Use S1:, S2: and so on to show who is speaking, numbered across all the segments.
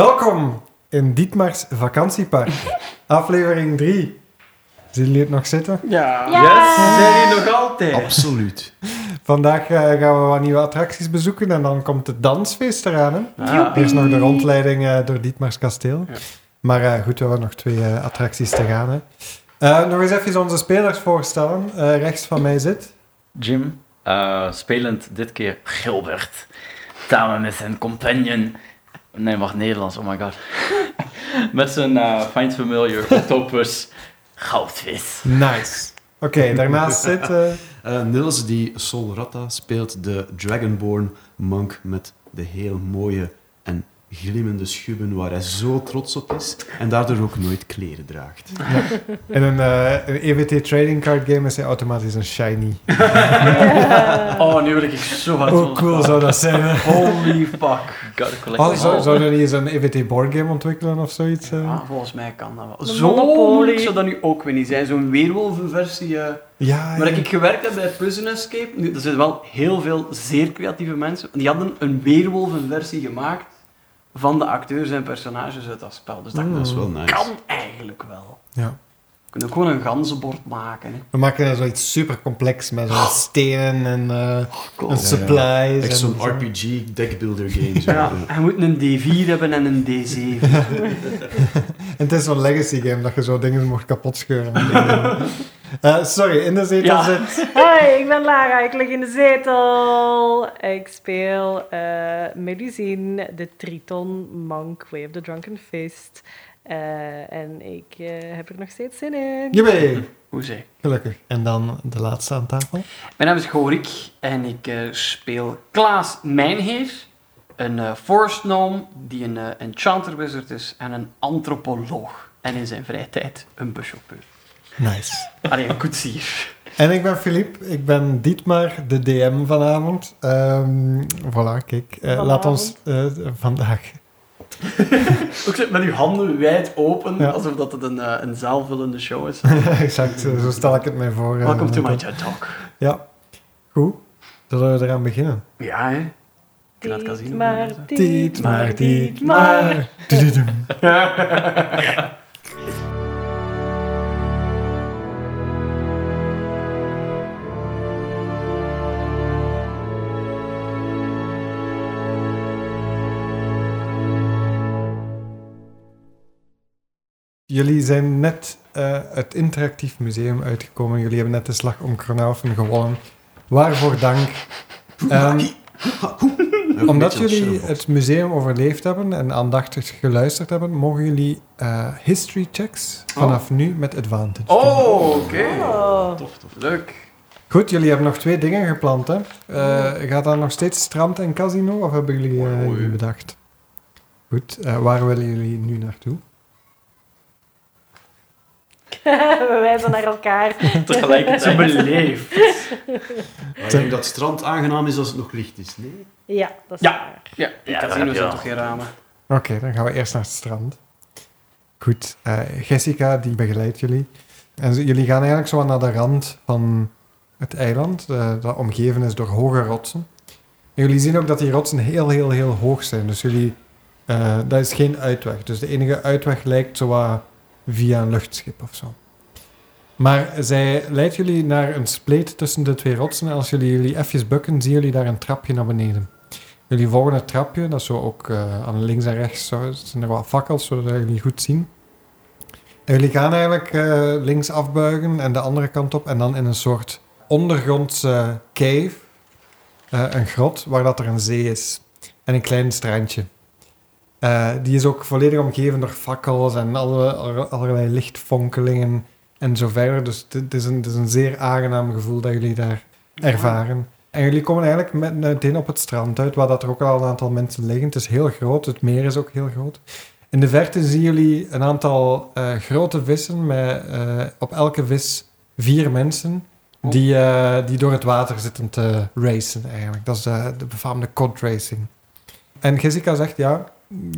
S1: Welkom in Dietmar's vakantiepark, aflevering 3. Zien jullie het nog zitten?
S2: Ja.
S3: Ja.
S4: Yes, zijn die nog altijd?
S5: Absoluut.
S1: Vandaag eh, gaan we wat nieuwe attracties bezoeken en dan komt het dansfeest eraan. Hè?
S2: Ah.
S1: Er is nog de rondleiding eh, door Dietmar's kasteel.
S2: Ja.
S1: Maar eh, goed, we hebben nog twee eh, attracties te gaan. Hè? Eh, nog eens even onze spelers voorstellen. Eh, rechts van mij zit...
S4: Jim, eh, spelend dit keer Gilbert, samen met zijn companion. Nee, wacht, Nederlands, oh my god. met zijn eh, Find Familiar Octopus Goudvis.
S1: Nice. Oké, daarnaast zit... eh,
S5: Eh, Nils die Sol Ratta speelt de Dragonborn monk met de heel mooie en glimmende schubben waar hij zo trots op is en daardoor ook nooit kleren draagt.
S1: in een, eh, een EWT trading card game is hij automatisch een shiny.
S4: Oh, nu wil ik zo hard
S1: Hoe cool zou dat zijn, hè?
S4: Holy fuck. Gotta collect
S1: Oh,
S4: them
S1: zou,
S4: all.
S1: zou er niet eens een EVT boardgame ontwikkelen of zoiets? eh?
S2: Ah, volgens mij kan dat wel.
S3: De
S2: Zo
S3: Monopoly.
S2: moeilijk zou dat nu ook weer niet zijn. Zo'n weerwolvenversie. versie
S1: Ja,
S2: waar
S1: Ah, ja.
S2: ik gewerkt heb bij Prison Escape, nu, er zijn wel heel veel zeer creatieve mensen. Die hadden een weerwolvenversie gemaakt van de acteurs en personages uit dat spel. Dus dat
S1: Mm.
S5: Dat is wel nice.
S2: kan eigenlijk wel.
S1: Ja.
S2: We kunnen ook gewoon een ganzenbord maken. Hè.
S1: We maken er zoiets super complex met zo'n stenen en, eh,
S2: Cool.
S1: en
S5: Ja, ja.
S1: supplies.
S5: Echt
S1: en
S5: zo'n
S1: zo.
S5: RPG deckbuilder game. Zo.
S2: Ja, hij moet een D4 hebben en een D7.
S1: En het is zo'n legacy game dat je zo dingen mocht kapot scheuren. Eh, sorry, in de zetel
S2: Ja.
S1: zit.
S3: Hoi, ik ben Lara, ik lig in de zetel. Ik speel eh Melusine, de Triton Monk, Way of the Drunken Fist. Eh, en ik eh, heb er nog steeds zin in.
S1: Jebé!
S2: Hoe zeg ik?
S1: Gelukkig. En dan de laatste aan tafel.
S2: Mijn naam is Gorik en ik eh, speel Klaas Mijnheer, een eh forest gnome die een eh, enchanter wizard is en een antropoloog. En in zijn vrije tijd een buschauffeur.
S1: Nice.
S2: Allee, een koetsier.
S1: En ik ben Filip, ik ben Dietmar, de DM vanavond. Ehm voilà, kijk. Eh, laat ons eh, vandaag.
S2: Ook zo met uw handen wijd open,
S1: Ja.
S2: alsof dat het een, eh, een zaalvullende show is.
S1: exact, zo zo stel ik het mij voor. eh,
S2: Welcome to my
S1: dat-
S2: TED Talk.
S1: Ja. Goed. Zullen we eraan beginnen?
S2: Ja, hè? In het casino.
S3: maar,
S1: Tiet, maar, tiet,
S3: maar.
S1: maar. Tududum. Jullie zijn net eh, het interactief museum uitgekomen. Jullie hebben net de slag om Kronaufen gewonnen. Waarvoor dank. Ehm,
S5: Ook
S1: omdat
S5: een beetje
S1: jullie
S5: als
S1: het museum overleefd hebben en aandachtig geluisterd hebben, mogen jullie eh, history checks
S5: Oh.
S1: vanaf nu met advantage doen.
S2: Oh, oké.
S3: Oh.
S5: Tof, tof.
S2: Leuk.
S1: Goed, jullie hebben nog twee dingen gepland. Hè?
S5: Oh.
S1: Eh, gaat dat nog steeds strand en casino of hebben jullie eh,
S5: Oei, oei.
S1: jullie bedacht? Goed, eh, waar willen jullie nu naartoe?
S3: Oh. We wijzen naar elkaar.
S2: Zo
S4: Tegelijkertijd.
S2: beleefd.
S5: Ik denk dat het strand aangenaam is als het nog licht is. Nee?
S3: Ja, dat is
S2: Ja.
S3: waar.
S2: Ja, in
S4: Ja,
S2: ja,
S4: dat
S2: casino's
S4: heb je
S2: zijn
S4: wel.
S2: toch geen ramen?
S1: Oké, dan gaan we eerst naar het strand. Goed, eh, Jessica die begeleidt jullie. En ze- jullie gaan eigenlijk zo naar de rand van het eiland, eh, dat omgeven is door hoge rotsen. En jullie zien ook dat die rotsen heel, heel, heel hoog zijn. Dus jullie, eh, dat is geen uitweg. Dus de enige uitweg lijkt zo wat via een luchtschip of zo. Maar zij leidt jullie naar een spleet tussen de twee rotsen. En als jullie jullie even bukken, zien jullie daar een trapje naar beneden. Jullie volgen het trapje, dat is zo ook eh, aan links en rechts zo, zijn er wat fakkels, zodat jullie goed zien. En jullie gaan eigenlijk eh, links afbuigen en de andere kant op en dan in een soort ondergrondse cave, eh, een grot, waar dat er een zee is en een klein strandje. Eh, die is ook volledig omgeven door fakkels en alle, allerlei lichtvonkelingen en zo verder. Dus het- het is, een, het is een zeer aangenaam gevoel dat jullie daar ervaren. En jullie komen eigenlijk met, meteen op het strand uit, waar dat er ook al een aantal mensen liggen. Het is heel groot, het meer is ook heel groot. In de verte zien jullie een aantal eh, grote vissen, met eh, op elke vis vier mensen,
S2: Oh.
S1: die, eh, die door het water zitten te racen eigenlijk. Dat is eh, de, de befaamde cod racing. En Jessica zegt, ja,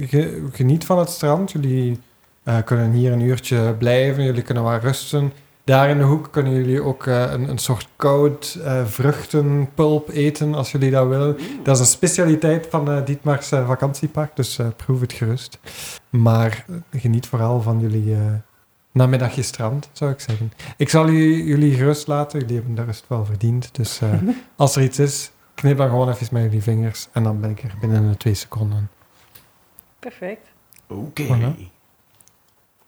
S1: ge- geniet van het strand. Jullie eh, kunnen hier een uurtje blijven, jullie kunnen wat rusten. Daar in de hoek kunnen jullie ook eh, een, een soort koud eh, vruchtenpulp eten, als jullie dat willen. Dat is een specialiteit van eh Dietmar's eh, vakantiepark, dus eh, proef het gerust. Maar eh, geniet vooral van jullie eh namiddagje strand, zou ik zeggen. Ik zal u- jullie gerust laten, jullie hebben de rust wel verdiend. Dus eh, als er iets is, knip dan gewoon even met jullie vingers en dan ben ik er binnen de twee seconden.
S3: Perfect.
S5: Oké.
S1: Voilà.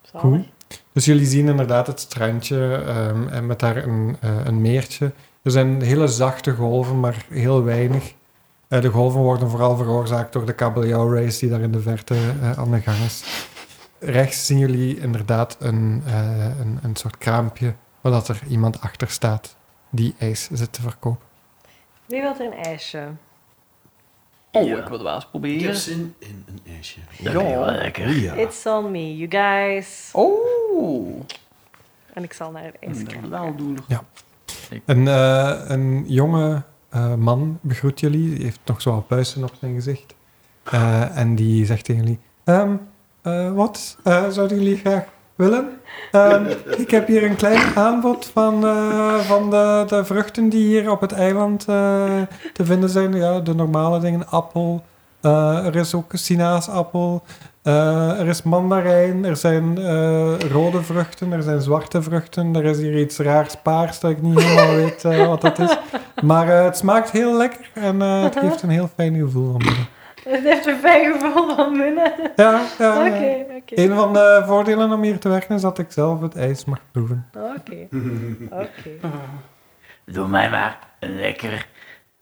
S3: Zalig.
S1: Cool. Dus jullie zien inderdaad het strandje ehm, en met daar een, eh, een meertje. Er zijn hele zachte golven, maar heel weinig. Eh, de golven worden vooral veroorzaakt door de kabeljauwrace die daar in de verte eh, aan de gang is. Rechts zien jullie inderdaad een, eh, een, een soort kraampje waar dat er iemand achter staat die ijs zit te verkopen.
S3: Wie wil er een ijsje?
S2: Oh,
S4: Ja.
S2: ik wil wel eens proberen.
S5: Hier zin in een ijsje.
S4: Dat vind ik wel lekker.
S5: Oeh, ja.
S3: It's on me, you guys.
S2: Oh,
S3: En ik zal naar het ijs
S2: dat
S3: kijken.
S2: wel doen.
S1: Een, eh, een jonge eh, man begroet jullie. Die heeft nog zo'n puisten op zijn gezicht. Eh, en die zegt tegen jullie... "Ehm, eh, wat eh, zouden jullie graag willen? Ehm, ik heb hier een klein aanbod van, eh, van de, de vruchten die hier op het eiland eh, te vinden zijn. Ja, de normale dingen. Appel. eh, er is ook sinaasappel. eh, er is mandarijn. Er zijn eh, rode vruchten. Er zijn zwarte vruchten. Er is hier iets raars paars dat ik niet helemaal weet eh, wat dat is. Maar eh, het smaakt heel lekker. En eh, het geeft een heel fijn gevoel van binnen.
S3: Het heeft een fijn gevoel van binnen.
S1: Ja, ja, ja.
S3: Oké,
S1: Een
S3: oké.
S1: van de voordelen om hier te werken is dat ik zelf het ijs mag proeven.
S3: Oké, oké.
S4: Doe mij maar een lekker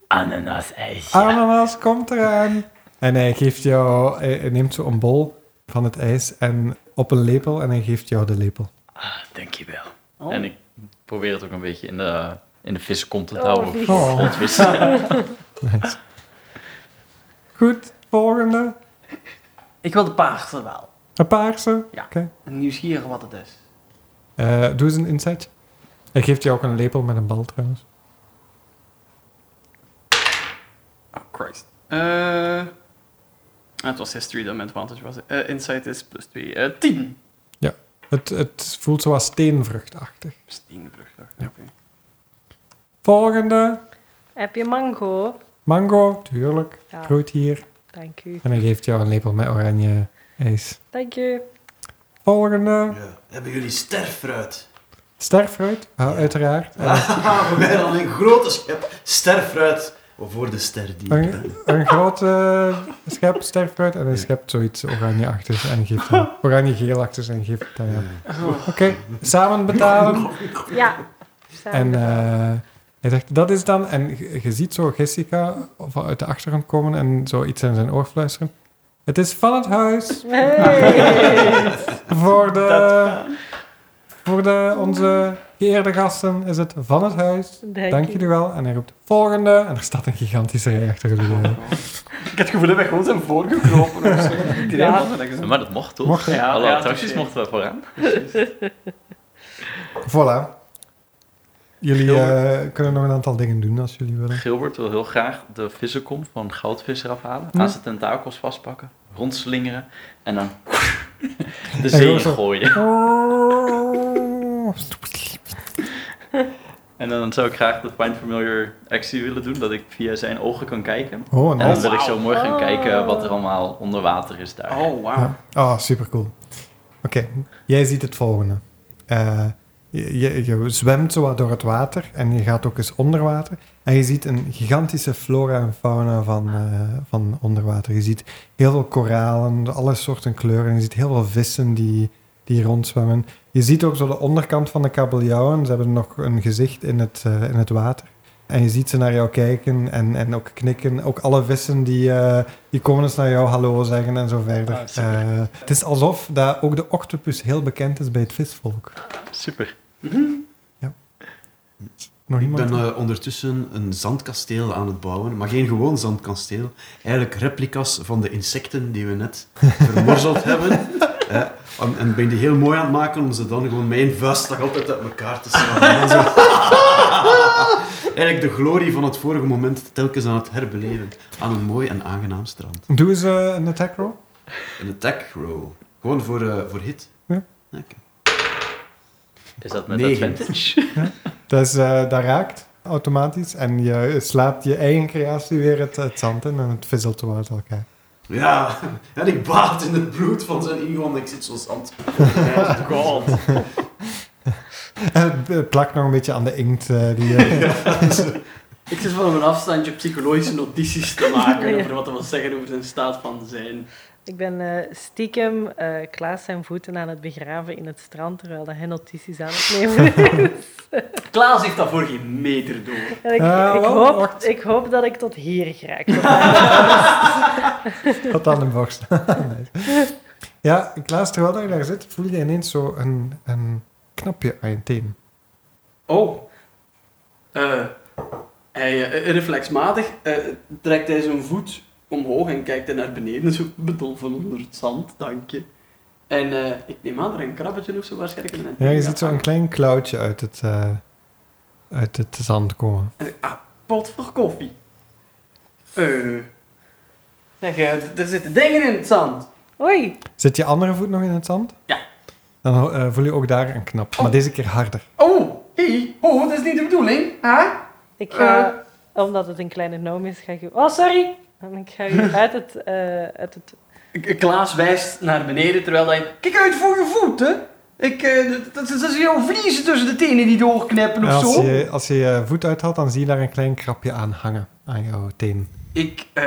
S4: ananas-ijsje.
S1: Ah. Ananas komt eraan. En hij geeft jou, hij hij neemt zo een bol van het ijs en op een lepel en hij geeft jou de lepel.
S4: Ah, dankjewel.
S2: Oh.
S4: En ik probeer het ook een beetje in de, in de vissenkom te houden.
S3: vies.
S1: Oh.
S4: Of rondvis.
S1: Nice. Goed, volgende.
S2: Ik wil de paarse wel.
S1: Een paarse.
S2: Ja.
S1: Oké.
S2: Nieuwsgierig wat het is.
S1: Eh, doe eens een insight. Hij geeft jou ook een lepel met een bal trouwens.
S2: Oh, Christ. Eh, het was history dat mijn advantage was. Eh, insight is plus 2. Eh 10.
S1: Het, het voelt zoals steenvruchtachtig.
S2: Steenbrug. daar.
S1: Ja.
S2: Oké.
S1: Volgende.
S3: Heb je mango?
S1: Mango, tuurlijk.
S3: Ja.
S1: Groeit hier.
S3: Dank u.
S1: En hij geeft jou een lepel met oranje ijs.
S3: Dank u.
S1: Volgende.
S5: Ja. Hebben jullie sterfruit?
S1: Sterfruit, ja,
S5: Ja.
S1: uiteraard. Eh,
S5: Haha, voor mij dan een grote schep sterfruit. Voor de sterdieren.
S1: Een, een grote schep sterfruit en hij schept zoiets oranje-achtigs en geeft dan oranje-geel-achtigs en geeft dat ja. Oké, samen betalen.
S3: Ja.
S1: En
S3: Samen.
S1: eh, hij zegt, dat is dan... En je je ziet zo Jessica uit de achtergrond komen en zo iets in zijn oor fluisteren. Het is van het huis
S3: Hey.
S1: voor de... Voor de, onze geëerde gasten is het van het huis. Dank
S3: Dank
S1: jullie
S3: u.
S1: wel. En hij roept volgende. En er staat een gigantische rij achter jullie. eh.
S2: Ik heb het gevoel dat wij gewoon zijn voorgekropen of zo. Iedereen
S3: Ja.
S2: was er, dat is een-
S4: Maar dat mocht toch?
S1: Mocht, hè?
S4: Alle
S2: ja,
S4: attracties
S2: touché.
S4: mochten we vooraan.
S1: Voilà. Jullie
S4: Schilder.
S1: eh, kunnen nog een aantal dingen doen als jullie willen.
S4: Gilbert wil heel graag de vissenkom van goudvis eraf halen.
S1: Ja.
S4: Aan zijn tentakels vastpakken, rondslingeren en dan de
S1: En
S4: zee in
S1: zo-
S4: gooien. En dan zou ik graag de Find Familiar actie willen doen, dat ik via zijn ogen kan kijken.
S1: Oh,
S4: En dan
S1: nice.
S4: wil ik zo mooi gaan
S3: Oh.
S4: kijken wat er allemaal onder water is daar.
S2: Oh, wauw.
S1: Ja. Ah, supercool. Oké, jij ziet het volgende. Eh, je, je, je zwemt zo wat door het water en je gaat ook eens onder water. En je ziet een gigantische flora en fauna van, eh van onderwater. Je ziet heel veel koralen, alle soorten kleuren. Je ziet heel veel vissen die, die rondzwemmen. Je ziet ook zo de onderkant van de kabeljauwen. Ze hebben nog een gezicht in het, eh, in het water. En je ziet ze naar jou kijken en, en ook knikken. Ook alle vissen die, eh, die komen eens naar jou hallo zeggen en zo verder.
S4: Ah, super.
S1: Eh, het is alsof dat ook de octopus heel bekend is bij het visvolk.
S4: Super.
S1: Nog
S5: Ik
S1: iemand?
S5: ben eh, ondertussen een zandkasteel aan het bouwen, maar geen gewoon zandkasteel. Eigenlijk replica's van de insecten die we net vermorzeld hebben. Eh, om- en ben die heel mooi aan het maken om ze dan gewoon mijn vuistslag altijd uit elkaar te slaan. En dan zo- Eigenlijk de glorie van het vorige moment telkens aan het herbeleven. Aan een mooi en aangenaam strand.
S1: Doe eens eh, een attack roll.
S5: Een attack roll. Gewoon voor, eh, voor hit.
S1: Ja.
S5: Oké.
S4: Is dat met
S5: Negen.
S4: advantage?
S1: Dus eh, dat raakt automatisch. En je slaat je eigen creatie weer het, het zand in en het fizzelt zo uit elkaar.
S5: Ja, en ik baat in het bloed van zijn ingon. Ik zit zo zand.
S4: God.
S1: En het, het plakt nog een beetje aan de inkt. eh, die, eh,
S2: Ik zit van op een afstandje psychologische notities te maken
S3: Ja.
S2: over wat dat wil zeggen over zijn staat van zijn.
S3: Ik ben eh, stiekem eh, Klaas zijn voeten aan het begraven in het strand, terwijl dat hij notities aan het nemen is.
S2: Klaas heeft daarvoor geen meter door.
S3: En ik,
S1: Eh,
S3: ik,
S1: wacht,
S3: hoop,
S1: wacht.
S3: ik hoop dat ik tot hier raak.
S1: Tot aan de borst. Nee. Ja, Klaas, terwijl dat je daar zit, voel je ineens zo een, een knopje aan je teen.
S2: Oh. Eh, hij, eh, reflexmatig eh, trekt hij zijn voet omhoog en kijkt hij naar beneden, zo bedolven onder het zand, dank je. En eh, ik neem aan dat er een krabbetje of zo waarschijnlijk in
S1: Ja, je ziet zo'n klein klauwtje uit het, eh, uit het zand komen.
S2: Ah, pot voor koffie. Eh. Zeg, eh, er zitten dingen in het zand.
S3: Oei,
S1: Zit je andere voet nog in het zand?
S2: Ja.
S1: Dan eh, voel je ook daar een knap, maar deze keer harder.
S2: Oh, hey, oh, dat is niet de bedoeling, hè?
S3: ik ga, omdat het een kleine gnome is, ga ik... Oh, sorry! En ik ga u uit het... eh, uit het
S2: K- Klaas wijst naar beneden terwijl hij. Kijk uit voor je voeten! Ik, eh, dat- dat, dat is jouw vliezen tussen de tenen die doorkneppen
S1: En
S2: of
S1: als
S2: zo.
S1: je, als je je voet uit had, dan zie je daar een klein krapje aan hangen, aan jouw teen.
S2: Ik, eh,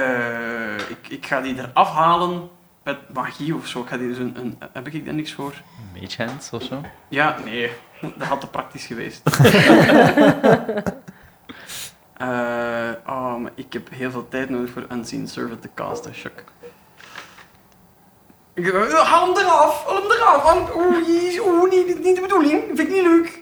S2: ik, ik ga die eraf halen met magie of zo. Ik ga die dus een, een, heb ik daar niks voor?
S4: Mage hands of zo?
S2: Ja, nee. Dat had te praktisch geweest. Eh, oh, maar ik heb heel veel tijd nodig voor Unseen Servant te casten, Chuck. Ik, eh, haal hem eraf! Haal hem eraf! haal hem- Oeh, jeez, oeh, niet, niet de bedoeling. Vind ik niet leuk.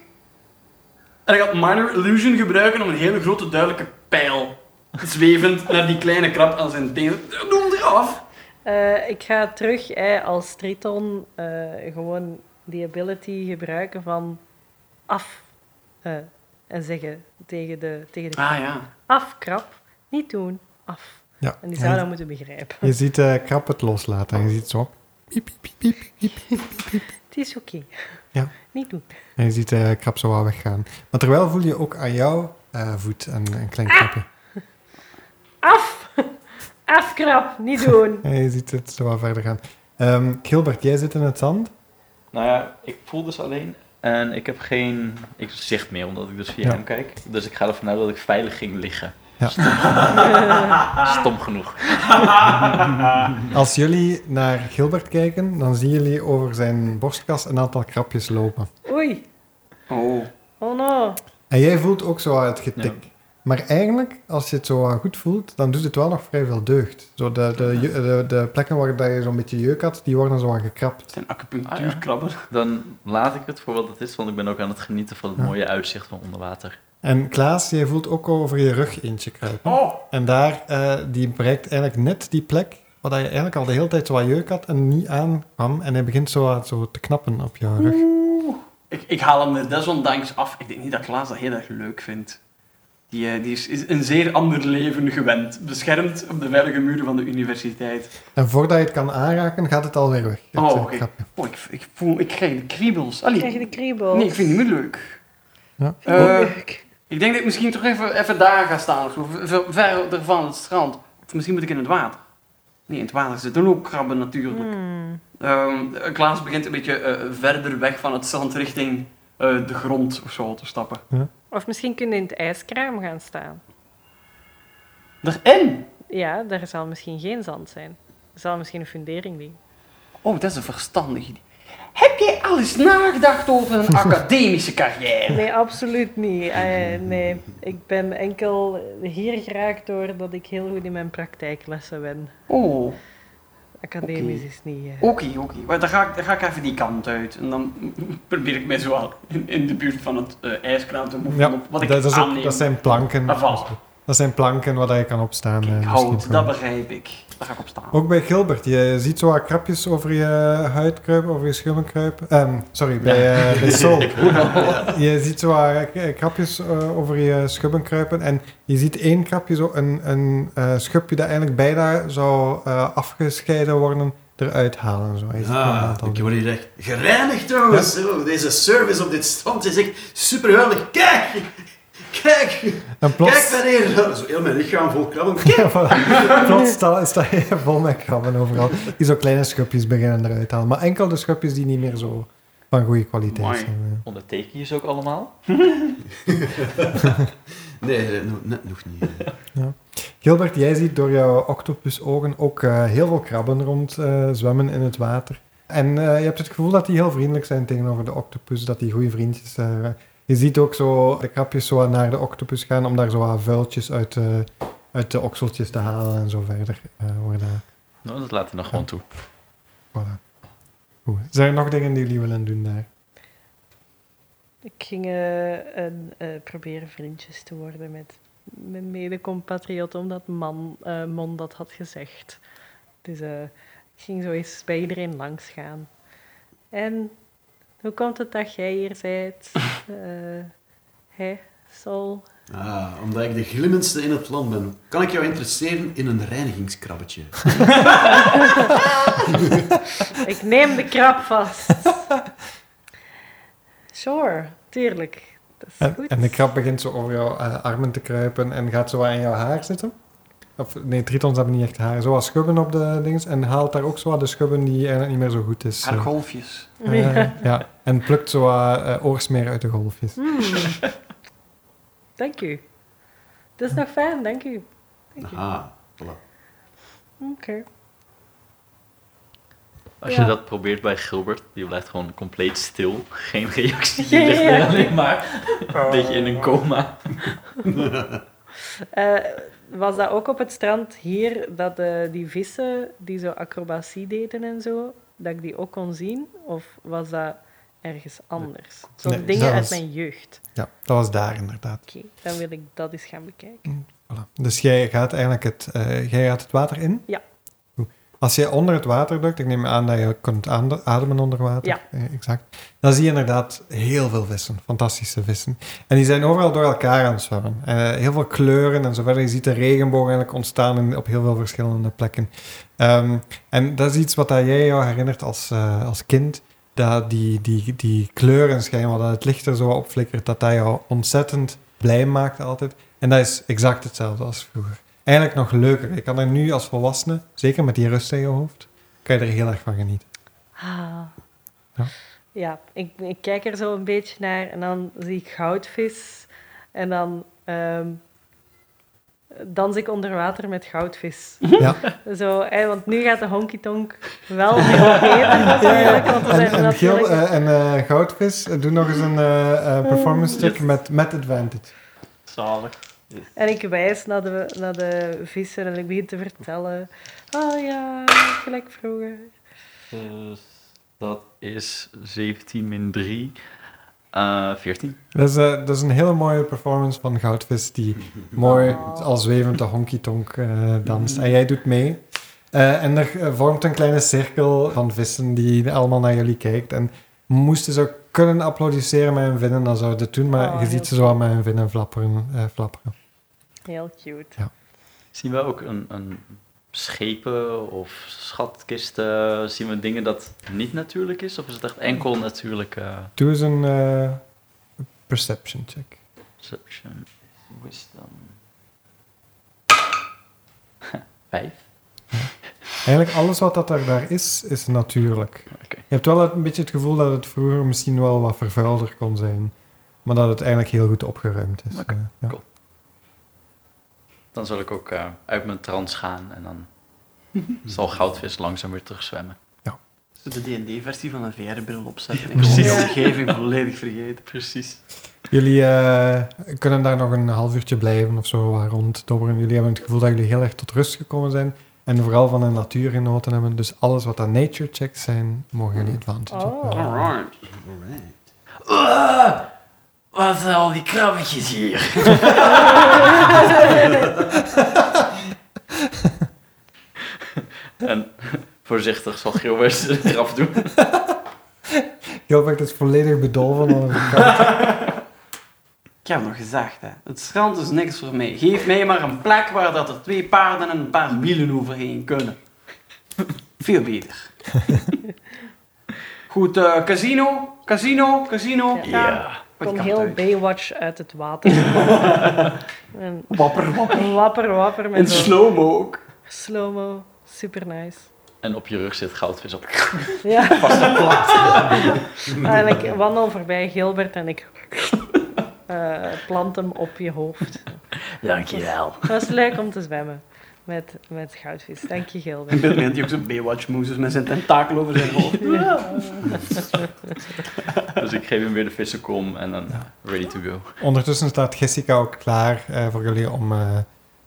S2: En hij gaat Minor Illusion gebruiken om een hele grote duidelijke pijl zwevend naar die kleine krab aan zijn teen. Doe hem eraf!
S3: Eh, ik ga terug eh, als Triton eh, gewoon die ability gebruiken van af. eh, en zeggen tegen de, tegen de
S2: Ah ja.
S3: afkrap. Niet doen, af.
S1: Ja.
S3: En die zou dat moeten begrijpen.
S1: Je ziet eh krap het loslaten en je ziet zo. Piep, piep, piep, piep, piep.
S3: Het is oké.
S1: Ja.
S3: Niet doen.
S1: En je ziet eh krap zo wel weggaan. Maar terwijl voel je ook aan jouw eh, voet een, een klein krapje.
S3: Af! Afkrap, niet doen.
S1: En je ziet het zo wel verder gaan. Ehm, Gilbert, jij zit in het zand.
S4: Nou ja, ik voel dus alleen. En ik heb geen ik zicht meer, omdat ik dus via
S1: Ja.
S4: hem kijk. Dus ik ga ervan uit dat ik veilig ging liggen.
S1: Ja.
S4: Stom genoeg.
S1: Als jullie naar Gilbert kijken, dan zien jullie over zijn borstkas een aantal krapjes lopen.
S3: Oei.
S2: Oh.
S3: Oh no.
S1: En jij voelt ook zo het getik. Maar eigenlijk, als je het zo goed voelt, dan doet het wel nog vrij veel deugd. Zo de, de, je- de, de plekken waar dat je zo'n beetje jeuk had, die worden zo aan gekrapt.
S2: Het zijn acupunctuurkrabben.
S4: Dan laat ik het voor wat het is, want ik ben ook aan het genieten van het
S1: Ja.
S4: mooie uitzicht van onder water.
S1: En Klaas, jij voelt ook over je rug eentje kruipen.
S2: Oh!
S1: En daar, eh, die bereikt eigenlijk net die plek waar dat je eigenlijk al de hele tijd zo wat jeuk had en niet aankwam. En hij begint zo, wat zo te knappen op jouw rug.
S2: Oeh. Ik, ik haal hem er desondanks af. Ik denk niet dat Klaas dat heel erg leuk vindt. Die, eh, die is, is een zeer ander leven gewend. Beschermd op de veilige muren van de universiteit.
S1: En voordat je het kan aanraken, gaat het alweer weg. Het,
S2: Oh,
S1: eh,
S2: oké.
S1: krapje.
S2: Oh, ik, ik voel... Ik krijg de kriebels.
S3: Ik
S2: Allee.
S3: krijg de kriebel.
S2: Nee, ik vind het niet meer leuk.
S1: Ja.
S2: Eh,
S3: Leuk.
S2: ik denk dat ik misschien toch even, even daar ga staan. Of zo, ver, verder van het strand. Of misschien moet ik in het water. Nee, in het water zitten ook krabben natuurlijk.
S3: Hmm.
S2: Ehm, Klaas begint een beetje eh, verder weg van het strand richting eh, de grond of zo te stappen.
S3: Of misschien kunnen we in het ijskraam gaan staan.
S2: Erin?
S3: Ja, daar zal misschien geen zand zijn. Er zal misschien een fundering liggen.
S2: Oh, dat is een verstandig idee. Heb jij al eens nagedacht over een academische carrière?
S3: Nee, absoluut niet. Eh, nee, ik ben enkel hier geraakt doordat ik heel goed in mijn praktijklessen ben.
S2: Oh, oké,
S3: Academisch
S2: Oké.
S3: is niet... eh.
S2: oké. Maar Dan, ga ik- dan ga ik even die kant uit. En dan probeer ik mij zo al in, in de buurt van het eh, ijskraam te moeven.
S1: Ja,
S2: op wat ik
S1: dat, dat is ook-
S2: aanneem.
S1: dat zijn planken.
S2: Afval.
S1: Dat zijn planken waar dat je kan opstaan. eh,
S2: Kijk,
S1: misschien Oh,
S2: hout,
S1: gewoon.
S2: dat begrijp ik. Daar ga ik op staan.
S1: Ook bij Gilbert, je ziet zo wat krapjes over je huid kruipen, over je schimmen kruipen. Ehm, sorry, bij, eh, bij Sol. Je ziet zo wat eh, krapjes eh, over je schubben kruipen. En je ziet één krapje, zo een, een eh, schubje dat eigenlijk bijna zou eh, afgescheiden worden. eruit halen. Zo. Hij zit nog een
S5: Ah,
S1: aantal
S5: ik
S1: dingen.
S5: word hier echt gereinigd trouwens. Zo, deze service op dit strand is echt superhuilig. Kijk! Kijk!
S1: En plots,
S5: Kijk meneer! Zo heel mijn lichaam vol krabben.
S1: Ja, voilà. plots sta, sta je vol met krabben overal. Die zo kleine schubjes beginnen eruit te halen. Maar enkel de schubjes die niet meer zo van goede kwaliteit
S2: Mooi.
S1: zijn. eh. ja.
S4: Onderteken je ze ook allemaal?
S5: Nee, nee, no- net nog niet.
S1: Gilbert, jij ziet door jouw octopusogen ook eh, heel veel krabben rond eh, zwemmen in het water. En eh, je hebt het gevoel dat die heel vriendelijk zijn tegenover de octopus, dat die goede vriendjes zijn. je ziet ook zo de krabjes zo wat naar de octopus gaan om daar zo wat vuiltjes uit de, uit de okseltjes te halen en zo verder. eh worden.
S4: Nou, dat laten we nog gewoon toe.
S1: Voilà. Goed. Zijn er nog dingen die jullie willen doen daar?
S3: Ik ging eh, een, eh, proberen vriendjes te worden met mijn mede-compatriot, omdat man, eh, Mon dat had gezegd. Dus eh, ik ging zo eens bij iedereen langs gaan. En hoe komt het dat jij hier bent? Eh hè, Sol?
S5: Ah, omdat ik de glimmendste in het land ben, kan ik jou interesseren in een reinigingskrabbetje.
S3: Ik neem de krab vast. Sure, tuurlijk. Dat is
S1: En,
S3: goed.
S1: en de krab begint zo over jouw eh, armen te kruipen en gaat zo wat in jouw haar zitten. Of, nee, tritons hebben niet echt haar. Zo wat schubben op de dingen. En haalt daar ook zo wat de schubben die eigenlijk niet meer zo goed is.
S2: Haar
S1: Eh,
S2: golfjes.
S3: Mm.
S1: eh, ja. En plukt zo wat eh, oorsmeer uit de golfjes. eh.
S3: Hmm. Dank u. Dat is nog fijn, dank u. Dank u. Oké.
S5: Aha, voilà.
S4: Als
S3: Ja.
S4: je dat probeert bij Gilbert, die blijft gewoon compleet stil. Geen reactie.
S3: Ja,
S4: Die ligt
S3: ja, ja.
S4: er alleen maar een beetje in een coma.
S3: Eh, was dat ook op het strand hier dat eh, die vissen die zo acrobatie deden en zo, dat ik die ook kon zien? Of was dat ergens anders? Zo'n
S1: Nee,
S3: dingen
S1: dat
S3: uit
S1: was-
S3: mijn jeugd.
S1: Ja, dat was daar inderdaad.
S3: Oké, dan wil ik dat eens gaan bekijken.
S1: Voilà. Dus jij gaat eigenlijk het, eh, jij gaat het water in?
S3: Ja.
S1: Goed. Als jij onder het water duikt, ik neem aan dat je kunt aande- ademen onder water.
S3: Ja.
S1: Eh, exact. Dan zie je inderdaad heel veel vissen, fantastische vissen. En die zijn overal door elkaar aan het zwemmen. En, eh, heel veel kleuren en zo verder. Je ziet de regenboog eigenlijk ontstaan in- op heel veel verschillende plekken. Ehm, en dat is iets wat dat jij jou herinnert als, eh, als kind. Dat die, die, die kleuren schijnbaar, dat het licht er zo op flikkert, dat dat jou ontzettend blij maakt altijd. En dat is exact hetzelfde als vroeger. Eigenlijk nog leuker. Je kan er nu als volwassene, zeker met die rust in je hoofd, kan je er heel erg van genieten.
S3: Ah.
S1: Ja.
S3: Ja, ik, ik kijk er zo een beetje naar en dan zie ik goudvis. En dan ehm dans ik onder water met goudvis.
S1: Ja.
S3: Zo, hè, want nu gaat de honky tonk wel heel eten natuurlijk. Want we
S1: En,
S3: zijn
S1: en, Gil
S3: natuurlijk...
S1: eh, en eh, Goudvis, eh, doe nog eens een eh, eh, performance stuk
S4: Yes.
S1: met, met advantage.
S4: Zalig.
S3: En ik wijs naar de, naar de vissen en ik begin te vertellen. Oh ja, gelijk vroeger.
S4: Dus dat is 17 min 3. eh 14.
S1: Dat is, eh, dat is een hele mooie performance van Goudvis, die mooi
S3: Oh.
S1: als zwevend de honky-tonk eh, danst. En jij doet mee. Eh, en er eh, vormt een kleine cirkel van vissen die allemaal naar jullie kijkt. En moesten ze kunnen applaudisseren met hun vinnen, dan zouden ze het doen. Maar
S3: Oh,
S1: je
S3: heel
S1: ziet ze zo aan met hun vinnen flapperen. eh, flapperen.
S3: Heel cute.
S4: Zien we ook een, een schepen of schatkisten? Zien we dingen dat niet natuurlijk is? Of is het echt enkel natuurlijk eh,
S1: Doe eens een eh, perception check.
S4: perception? Wisdom. Vijf.
S1: Eigenlijk alles wat dat er daar is, is natuurlijk.
S4: Oké.
S1: Je hebt wel een beetje het gevoel dat het vroeger misschien wel wat vervuilder kon zijn. Maar dat het eigenlijk heel goed opgeruimd is. Eh, ja.
S4: cool. Dan zal ik ook eh, uit mijn trance gaan en dan zal Goudvis langzaam weer terugzwemmen.
S2: Zo De D&D-versie van een VR-bril opzetten.
S1: precies.
S2: Precies. De omgeving volledig vergeten.
S4: Precies.
S1: Jullie eh, kunnen daar nog een half uurtje blijven of zo wat ronddobberen. Jullie hebben het gevoel dat jullie heel erg tot rust gekomen zijn. En vooral van de natuur genoten hebben. Dus alles wat aan nature checks zijn, mogen jullie advantage
S3: Oh.
S1: hebben.
S2: Alright.
S5: Alright.
S2: Eh,
S4: wat zijn al die krabbetjes hier? en voorzichtig zal Gilbert ze eraf doen.
S1: Gilbert is volledig bedolven onder de kant.
S2: Ik heb nog gezegd, hè. Het strand is niks voor mij. Geef mij maar een plek waar dat er twee paarden en een paar wielen overheen kunnen. Veel beter. Goed, eh, casino, casino, casino.
S3: Ja.
S4: Ja.
S2: Want je
S3: Kom
S2: kan
S3: heel
S2: thuis.
S3: Baywatch uit het water. en
S2: Wapper, wapper.
S3: wapper, wapper
S2: En
S3: met zo'n
S2: slow-mo ook.
S3: slow-mo. Super nice.
S4: En op je rug zit goudvis op.
S3: Ja. en ik wandel voorbij Gilbert en ik eh, plant hem op je hoofd.
S4: Dankjewel.
S3: Het was leuk om te zwemmen met, met goudvis. Dank je,
S2: En
S3: Gilbert.
S2: Bill Lane die ook zo'n Baywatch moves met zijn tentakel over zijn hoofd.
S4: Dus ik geef hem weer de vissenkom en dan ready to go.
S1: Ondertussen staat Jessica ook klaar eh, voor jullie om eh,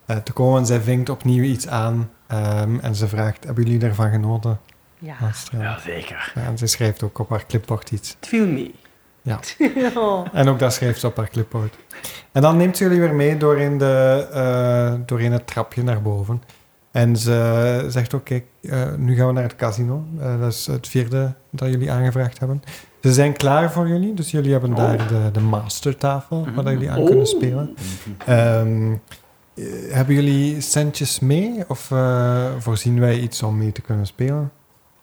S1: eh, te komen. Zij vinkt opnieuw iets aan ehm, en ze vraagt, hebben jullie ervan genoten?
S3: Ja.
S1: aan het strand?"
S4: zeker.
S1: Ja, en ze schrijft ook op haar clipboard iets.
S2: Het viel mee.
S3: Oh,
S1: En ook dat schrijft ze op haar clipboard. En dan neemt ze jullie weer mee door in, de, eh, door in het trapje naar boven. En ze zegt ook, kijk, eh, nu gaan we naar het casino. Eh, dat is het vierde dat jullie aangevraagd hebben. Ze zijn klaar voor jullie, dus jullie hebben
S4: Oh.
S1: daar de, de mastertafel waar dat jullie aan
S2: Oh. Mhm.
S1: kunnen spelen. Ehm, eh, hebben jullie centjes mee of eh, voorzien wij iets om mee te kunnen spelen?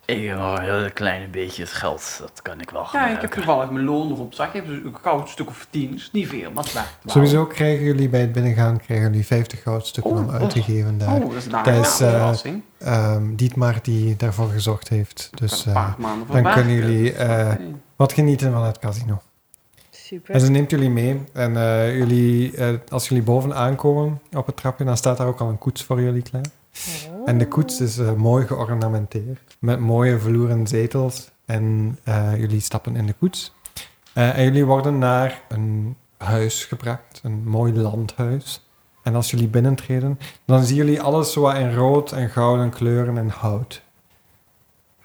S4: Ik heb nog een heel klein beetje het geld. Dat kan ik wel
S2: Ja, ik heb
S4: gebruiken.
S2: toevallig mijn loon nog op zak. Ik heb dus een koud stuk of tien. Is niet veel, maar het werkt wel.
S1: Sowieso krijgen jullie bij het binnengaan krijgen jullie 50 goudstukken
S2: Oh,
S1: al
S2: oh.
S1: uitgegeven daar.
S2: Oh, dat is een aangename
S1: is, eh,
S2: verrassing.
S1: Ehm, Dietmar die daarvoor gezorgd heeft. Dus
S2: een
S1: eh,
S2: paar maanden voor
S1: dan
S2: werken.
S1: kunnen jullie eh,
S2: Nee.
S1: wat genieten van het casino. En
S3: super.
S1: ze neemt jullie mee. En eh, jullie, eh, als jullie boven aankomen op het trapje, dan staat daar ook al een koets voor jullie klaar.
S3: Oh.
S1: En de koets is eh, mooi geornamenteerd. Met mooie vloeren zetels. En eh, jullie stappen in de koets. Eh, en jullie worden naar een huis gebracht. Een mooi landhuis. En als jullie binnentreden, dan zien jullie alles zo wat in rood en gouden kleuren en hout.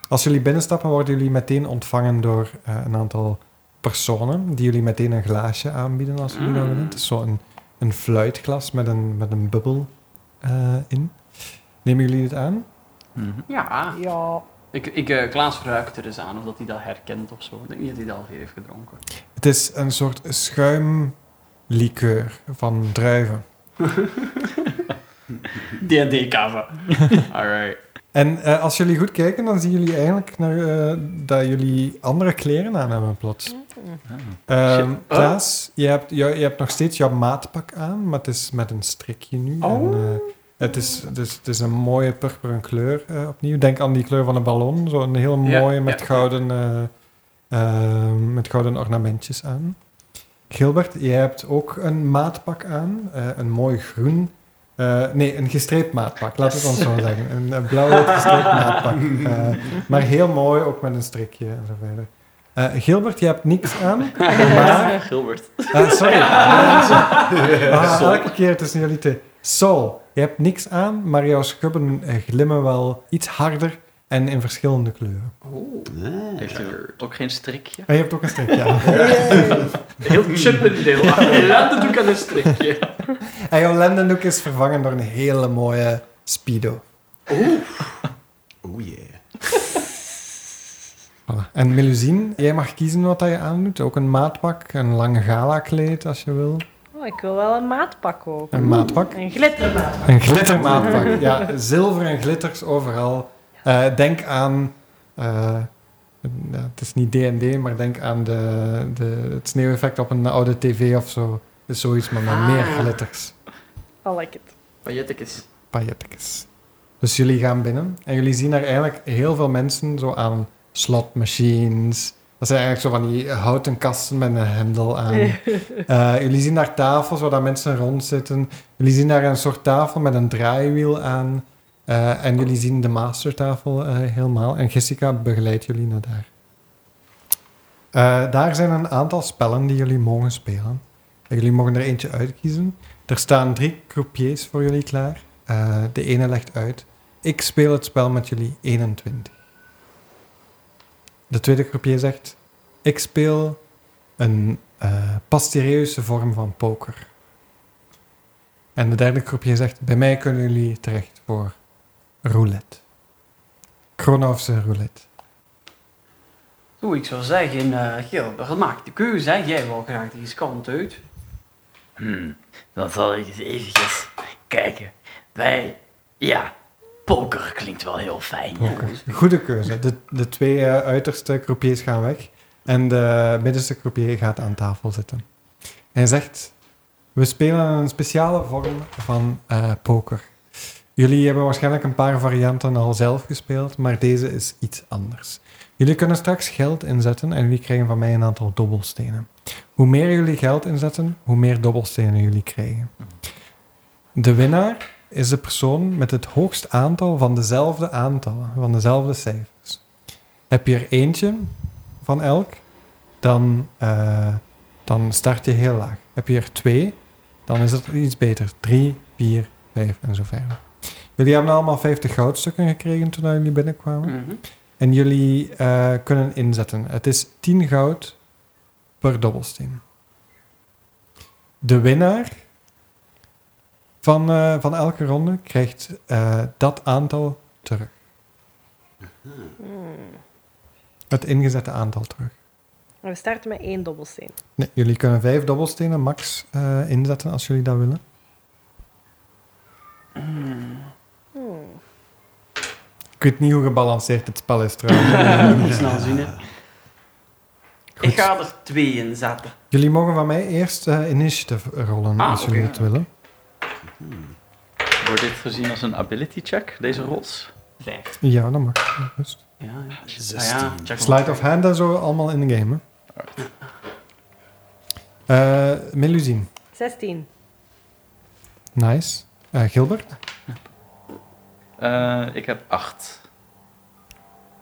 S1: Als jullie binnenstappen, worden jullie meteen ontvangen door eh, een aantal personen. Die jullie meteen een glaasje aanbieden als jullie dat
S2: Mm.
S1: willen. Het is zo'n een fluitglas met een, met een bubbel eh, in. Nemen jullie dit aan?
S4: Mhm.
S2: Ja,
S3: Ja.
S2: ik, ik, eh, Klaas ruikt er eens aan of dat hij dat herkent of zo. Ik denk niet dat hij dat al heeft gedronken.
S1: Het is een soort schuimlikeur van druiven.
S2: D&D-kava. Alright.
S1: En eh, als jullie goed kijken, dan zien jullie eigenlijk naar, eh, dat jullie andere kleren aan hebben plots.
S4: Ah.
S1: Ehm,
S2: Shit. Oh.
S1: Klaas, je hebt, je, je hebt nog steeds jouw maatpak aan, maar het is met een strikje nu.
S2: Oh.
S1: En, eh, het, is, het, is, het is een mooie purperen kleur eh, opnieuw. Denk aan die kleur van een ballon. Zo'n heel
S2: Ja,
S1: mooie met,
S2: ja.
S1: gouden, eh, eh, met gouden ornamentjes aan. Gilbert, jij hebt ook een maatpak aan. eh, een mooi groen. eh, nee, een gestreept maatpak, laat het ons zo zeggen. Een, eh, blauw gestreept maatpak. eh, maar heel mooi, ook met een strikje en zo verder. Eh, Gilbert, je hebt niks aan. maar
S4: Gilbert.
S1: Ah, sorry. Ah, elke keer tussen jullie twee. Sol, je hebt niks aan, maar jouw schubben eh, glimmen wel iets harder en in verschillende kleuren.
S2: Oh,
S5: Ah.
S4: Heeft u ook geen strikje?
S1: En je hebt ook een strikje aan.
S2: heel Chippendale. Laat het doek aan een strikje.
S1: En jouw lendendoek is vervangen door een hele mooie speedo.
S5: Oh yeah.
S1: Voilà. En Melusine, jij mag kiezen wat dat je aandoet. Ook een maatpak, een lange gala kleed als je wil.
S3: Oh, ik wil wel een maatpak kopen.
S1: Een maatpak.
S3: Een glittermaat.
S1: Een glittermaatpak. Ja, zilver en glitters overal. Eh, denk aan. eh, ja, het is niet DD, maar denk aan de, de, het sneeuweffect op een oude tv of zo. Is zoiets, maar met
S2: Ah.
S1: meer glitters.
S3: I Oh, like it.
S2: Pajettekes.
S1: Pailletjes. Dus jullie gaan binnen en jullie zien daar eigenlijk heel veel mensen zo aan slotmachines. Dat zijn eigenlijk zo van die eh, houten kasten met een hendel aan. Eh, jullie zien daar tafels waar daar mensen rond zitten. Jullie zien daar een soort tafel met een draaiwiel aan. Eh, en jullie zien de mastertafel eh, helemaal. En Jessica begeleidt jullie naar daar. Eh, daar zijn een aantal spellen die jullie mogen spelen. En jullie mogen er eentje uitkiezen. Er staan drie croupiers voor jullie klaar. Eh, de ene legt uit. Ik speel het spel met jullie 21. De tweede croupier zegt... Ik speel een eh pasterieuze vorm van poker. En de derde croupier zegt... Bij mij kunnen jullie terecht voor roulette. Kronovse roulette.
S2: Oeh, ik zou zeggen, eh Gilbert, maak de keuze. Hè. Jij wil graag die kant uit.
S4: Hmm, dan zal ik eens eventjes kijken. Wij, ja, Poker klinkt wel heel fijn.
S1: Poker. Goede keuze. De, de twee eh, uiterste croupiers gaan weg. En de middenste croupier gaat aan tafel zitten. Hij zegt, we spelen een speciale vorm van eh, poker. Jullie hebben waarschijnlijk een paar varianten al zelf gespeeld, maar deze is iets anders. Jullie kunnen straks geld inzetten en jullie krijgen van mij een aantal dobbelstenen. Hoe meer jullie geld inzetten, hoe meer dobbelstenen jullie krijgen. De winnaar is de persoon met het hoogst aantal van dezelfde aantallen, van dezelfde cijfers. Heb je er eentje van elk, dan, eh, dan start je heel laag. Heb je er twee, dan is het iets beter. Drie, vier, vijf en zo verder. Jullie hebben allemaal 50 goudstukken gekregen toen jullie binnenkwamen.
S2: Mhm.
S1: En jullie eh, kunnen inzetten. Het is 10 goud per dobbelsteen. De winnaar van, eh, van elke ronde krijgt eh, dat aantal terug. Het ingezette aantal terug.
S3: We starten met één dobbelsteen.
S1: Nee, jullie kunnen vijf dobbelstenen max eh, inzetten als jullie dat willen.
S3: Hmm.
S1: Ik weet niet hoe gebalanceerd het spel is trouwens.
S2: Moet snel zien, hè. Ik ga er twee in zetten.
S1: Jullie mogen van mij eerst eh initiative rollen
S2: Ah,
S1: als jullie
S2: oké.
S1: het willen.
S4: Wordt dit gezien als een ability check, deze rols?
S2: Vijf.
S1: Ja, dat mag. Rust.
S2: Ja, ja.
S5: Zestien.
S2: Ah ja, check
S1: Slide of hand en zo, allemaal in de game. Hè? Eh, Melusine,
S3: 16.
S1: nice. Eh, Gilbert,
S4: Eh, ik heb acht.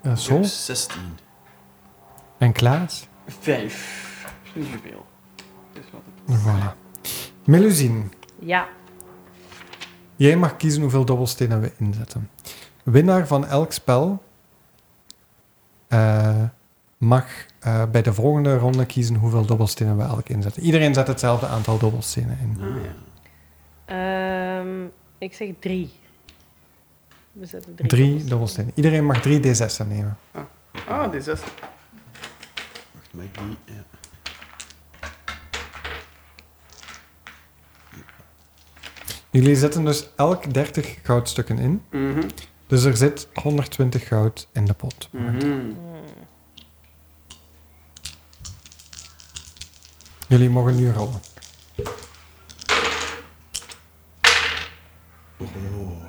S1: eh,
S5: Ik heb
S1: Sol
S5: 16.
S1: en Klaas.
S2: Vijf. Is Niet zoveel. Is wat het-
S1: Voilà. Melusine,
S3: Ja.
S1: jij mag kiezen hoeveel dobbelstenen we inzetten. Winnaar van elk spel eh, mag eh, bij de volgende ronde kiezen hoeveel dobbelstenen we elk inzetten. Iedereen zet hetzelfde aantal dobbelstenen in.
S5: Ah, ja.
S3: Ehm, ik zeg drie. We zetten drie.
S1: Drie dobbelstenen. Iedereen mag drie D6'en nemen.
S2: Ah, die zes.
S5: Wacht, mag ik die? Ja.
S1: Jullie zetten dus elk 30 goudstukken in.
S2: Mhm.
S1: Dus er zit 120 goud in de pot.
S2: Mhm.
S1: Jullie mogen nu rollen.
S5: Oh.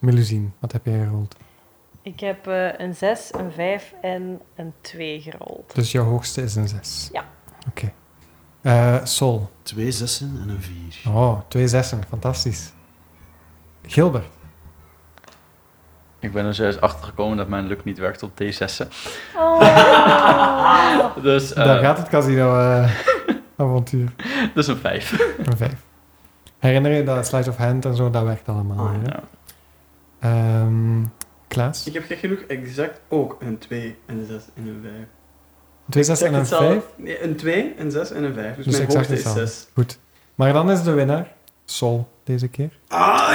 S1: Melusine, wat heb jij gerold?
S3: Ik heb eh, een 6, een 5 en een 2 gerold.
S1: Dus jouw hoogste is een 6.
S3: Ja.
S1: Oké. Eh, Sol.
S5: Twee zessen en een vier.
S1: Oh, twee zessen. Fantastisch. Gilbert.
S4: Ik ben er zojuist achter gekomen dat mijn luck niet werkt op D6'en.
S3: Oh.
S4: Dus, eh,
S1: Daar gaat het casino-avontuur.
S4: dus een vijf.
S1: een 5. Herinner je dat sleight of hand en zo, dat werkt allemaal.
S2: Ah,
S1: hè?
S4: ja.
S1: Ehm, Klaas.
S2: Ik heb gek genoeg exact ook een 2, een 6 en een 5.
S1: Twee zessen en een 5.
S2: Nee, een 2, een 6 en een 5. Dus,
S1: Dus
S2: mijn
S1: exact
S2: hoogste is
S1: hetzelfde.
S2: 6.
S1: Goed. Maar dan is de winnaar Sol deze keer.
S5: Ah,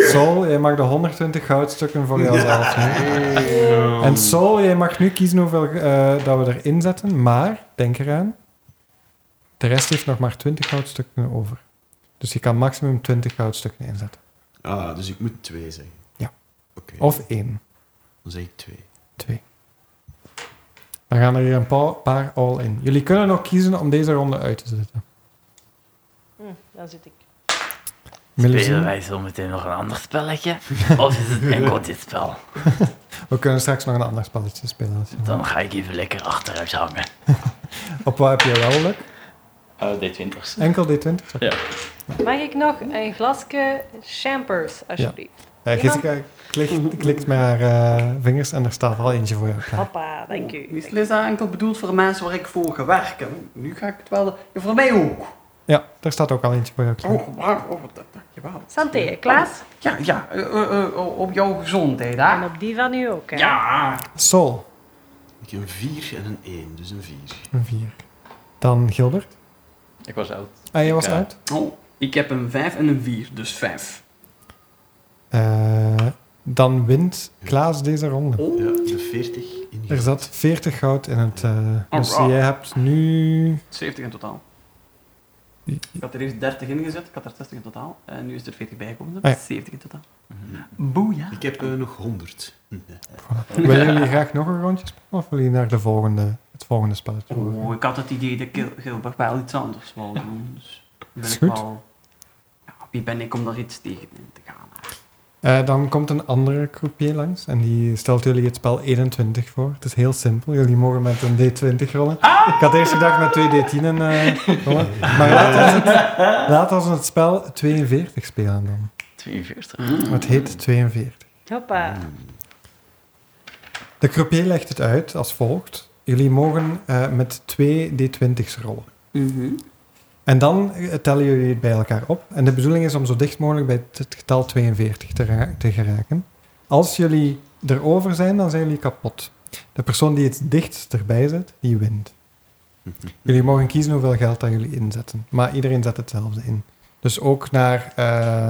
S1: Sol, jij mag de 120 goudstukken voor jouzelf nemen.
S2: Oh.
S1: En Sol, jij mag nu kiezen hoeveel eh, dat we erin zetten, maar denk eraan, de rest heeft nog maar 20 goudstukken over. Dus je kan maximum 20 goudstukken inzetten.
S5: Ah, dus ik moet twee zeggen.
S1: Ja.
S5: Oké,
S1: Of één,
S5: dan zeg ik twee.
S1: twee. Dan gaan er hier een pa- paar all in. Jullie kunnen nog kiezen om deze ronde uit te zetten.
S3: Hm, dan zit ik.
S4: Spelen
S1: Melusine,
S4: wij zo meteen nog een ander spelletje? Of is het enkel dit spel?
S1: we kunnen straks nog een ander spelletje spelen. als je wil.
S4: Dan ga ik even lekker achteruit hangen.
S1: Op wat heb je wel luck?
S4: Eh, D20's.
S1: Enkel D20?
S3: Mag ik nog een glasje champers, alsjeblieft?
S1: Eh, Jessica klikt, klikt met haar eh, vingers en er staat al eentje voor jou klaar.
S3: Papa, dank u.
S2: Meestal is dat enkel bedoeld voor mensen waar ik voor gewerkt heb. Nu ga ik het wel... Ja, voor mij ook.
S1: Ja, er staat ook al eentje voor jou klaar.
S2: Oh, waar? Oh, wat- dankjewel.
S3: Santé, Klaas.
S2: Ja, ja. eh, eh, eh, op jouw gezondheid,
S3: En
S2: hè?
S3: op die van u ook, hè?
S2: Ja.
S1: Sol,
S5: Ik heb een vier en een één, dus een vier.
S1: een 4. Dan Gilbert.
S4: Ik was oud.
S1: Ah, jij was
S4: Ja.
S1: uit.
S2: Oh, ik heb een 5 en een 4, dus 5.
S1: Eh, dan wint Klaas deze ronde.
S2: Oh.
S5: Ja, de 40 in
S1: Er zat
S4: Oh,
S1: 40 goud in het... eh, dus
S2: Alright.
S1: jij hebt nu...
S2: 70 in totaal. Ik had er eerst 30 in gezet, ik had er 60 in totaal. En nu is er 40 bijgekomen, dus
S1: Ah, ja.
S2: 70 in totaal. Boeja.
S5: Ik heb eh, nog 100.
S1: Willen jullie graag nog een rondje spelen of willen jullie naar de volgende, het volgende spelletje?
S2: Oh, ik had het idee dat Gil- Gilbert wel iets anders wou doen. Dus wil
S1: Is
S2: ik
S1: goed.
S2: wel... Ja, wie ben ik om daar iets tegen in te gaan?
S1: Eh, dan komt een andere croupier langs en die stelt jullie het spel 21 voor. Het is heel simpel. Jullie mogen met een D20 rollen. Ik had eerst gedacht met twee D10'en eh, rollen. Maar laten we het, laten we het spel 42 spelen dan.
S4: 42.
S1: Het heet 42.
S3: Hoppa.
S1: De croupier legt het uit als volgt. Jullie mogen eh, met twee D20's rollen. Mm.
S2: Mhm.
S1: En dan eh, tellen jullie het bij elkaar op. En de bedoeling is om zo dicht mogelijk bij het- het getal 42 te, ra- te geraken. Als jullie erover zijn, dan zijn jullie kapot. De persoon die het dichtst erbij zit, die wint. Jullie mogen kiezen hoeveel geld dat jullie inzetten. Maar iedereen zet hetzelfde in. Dus ook naar eh,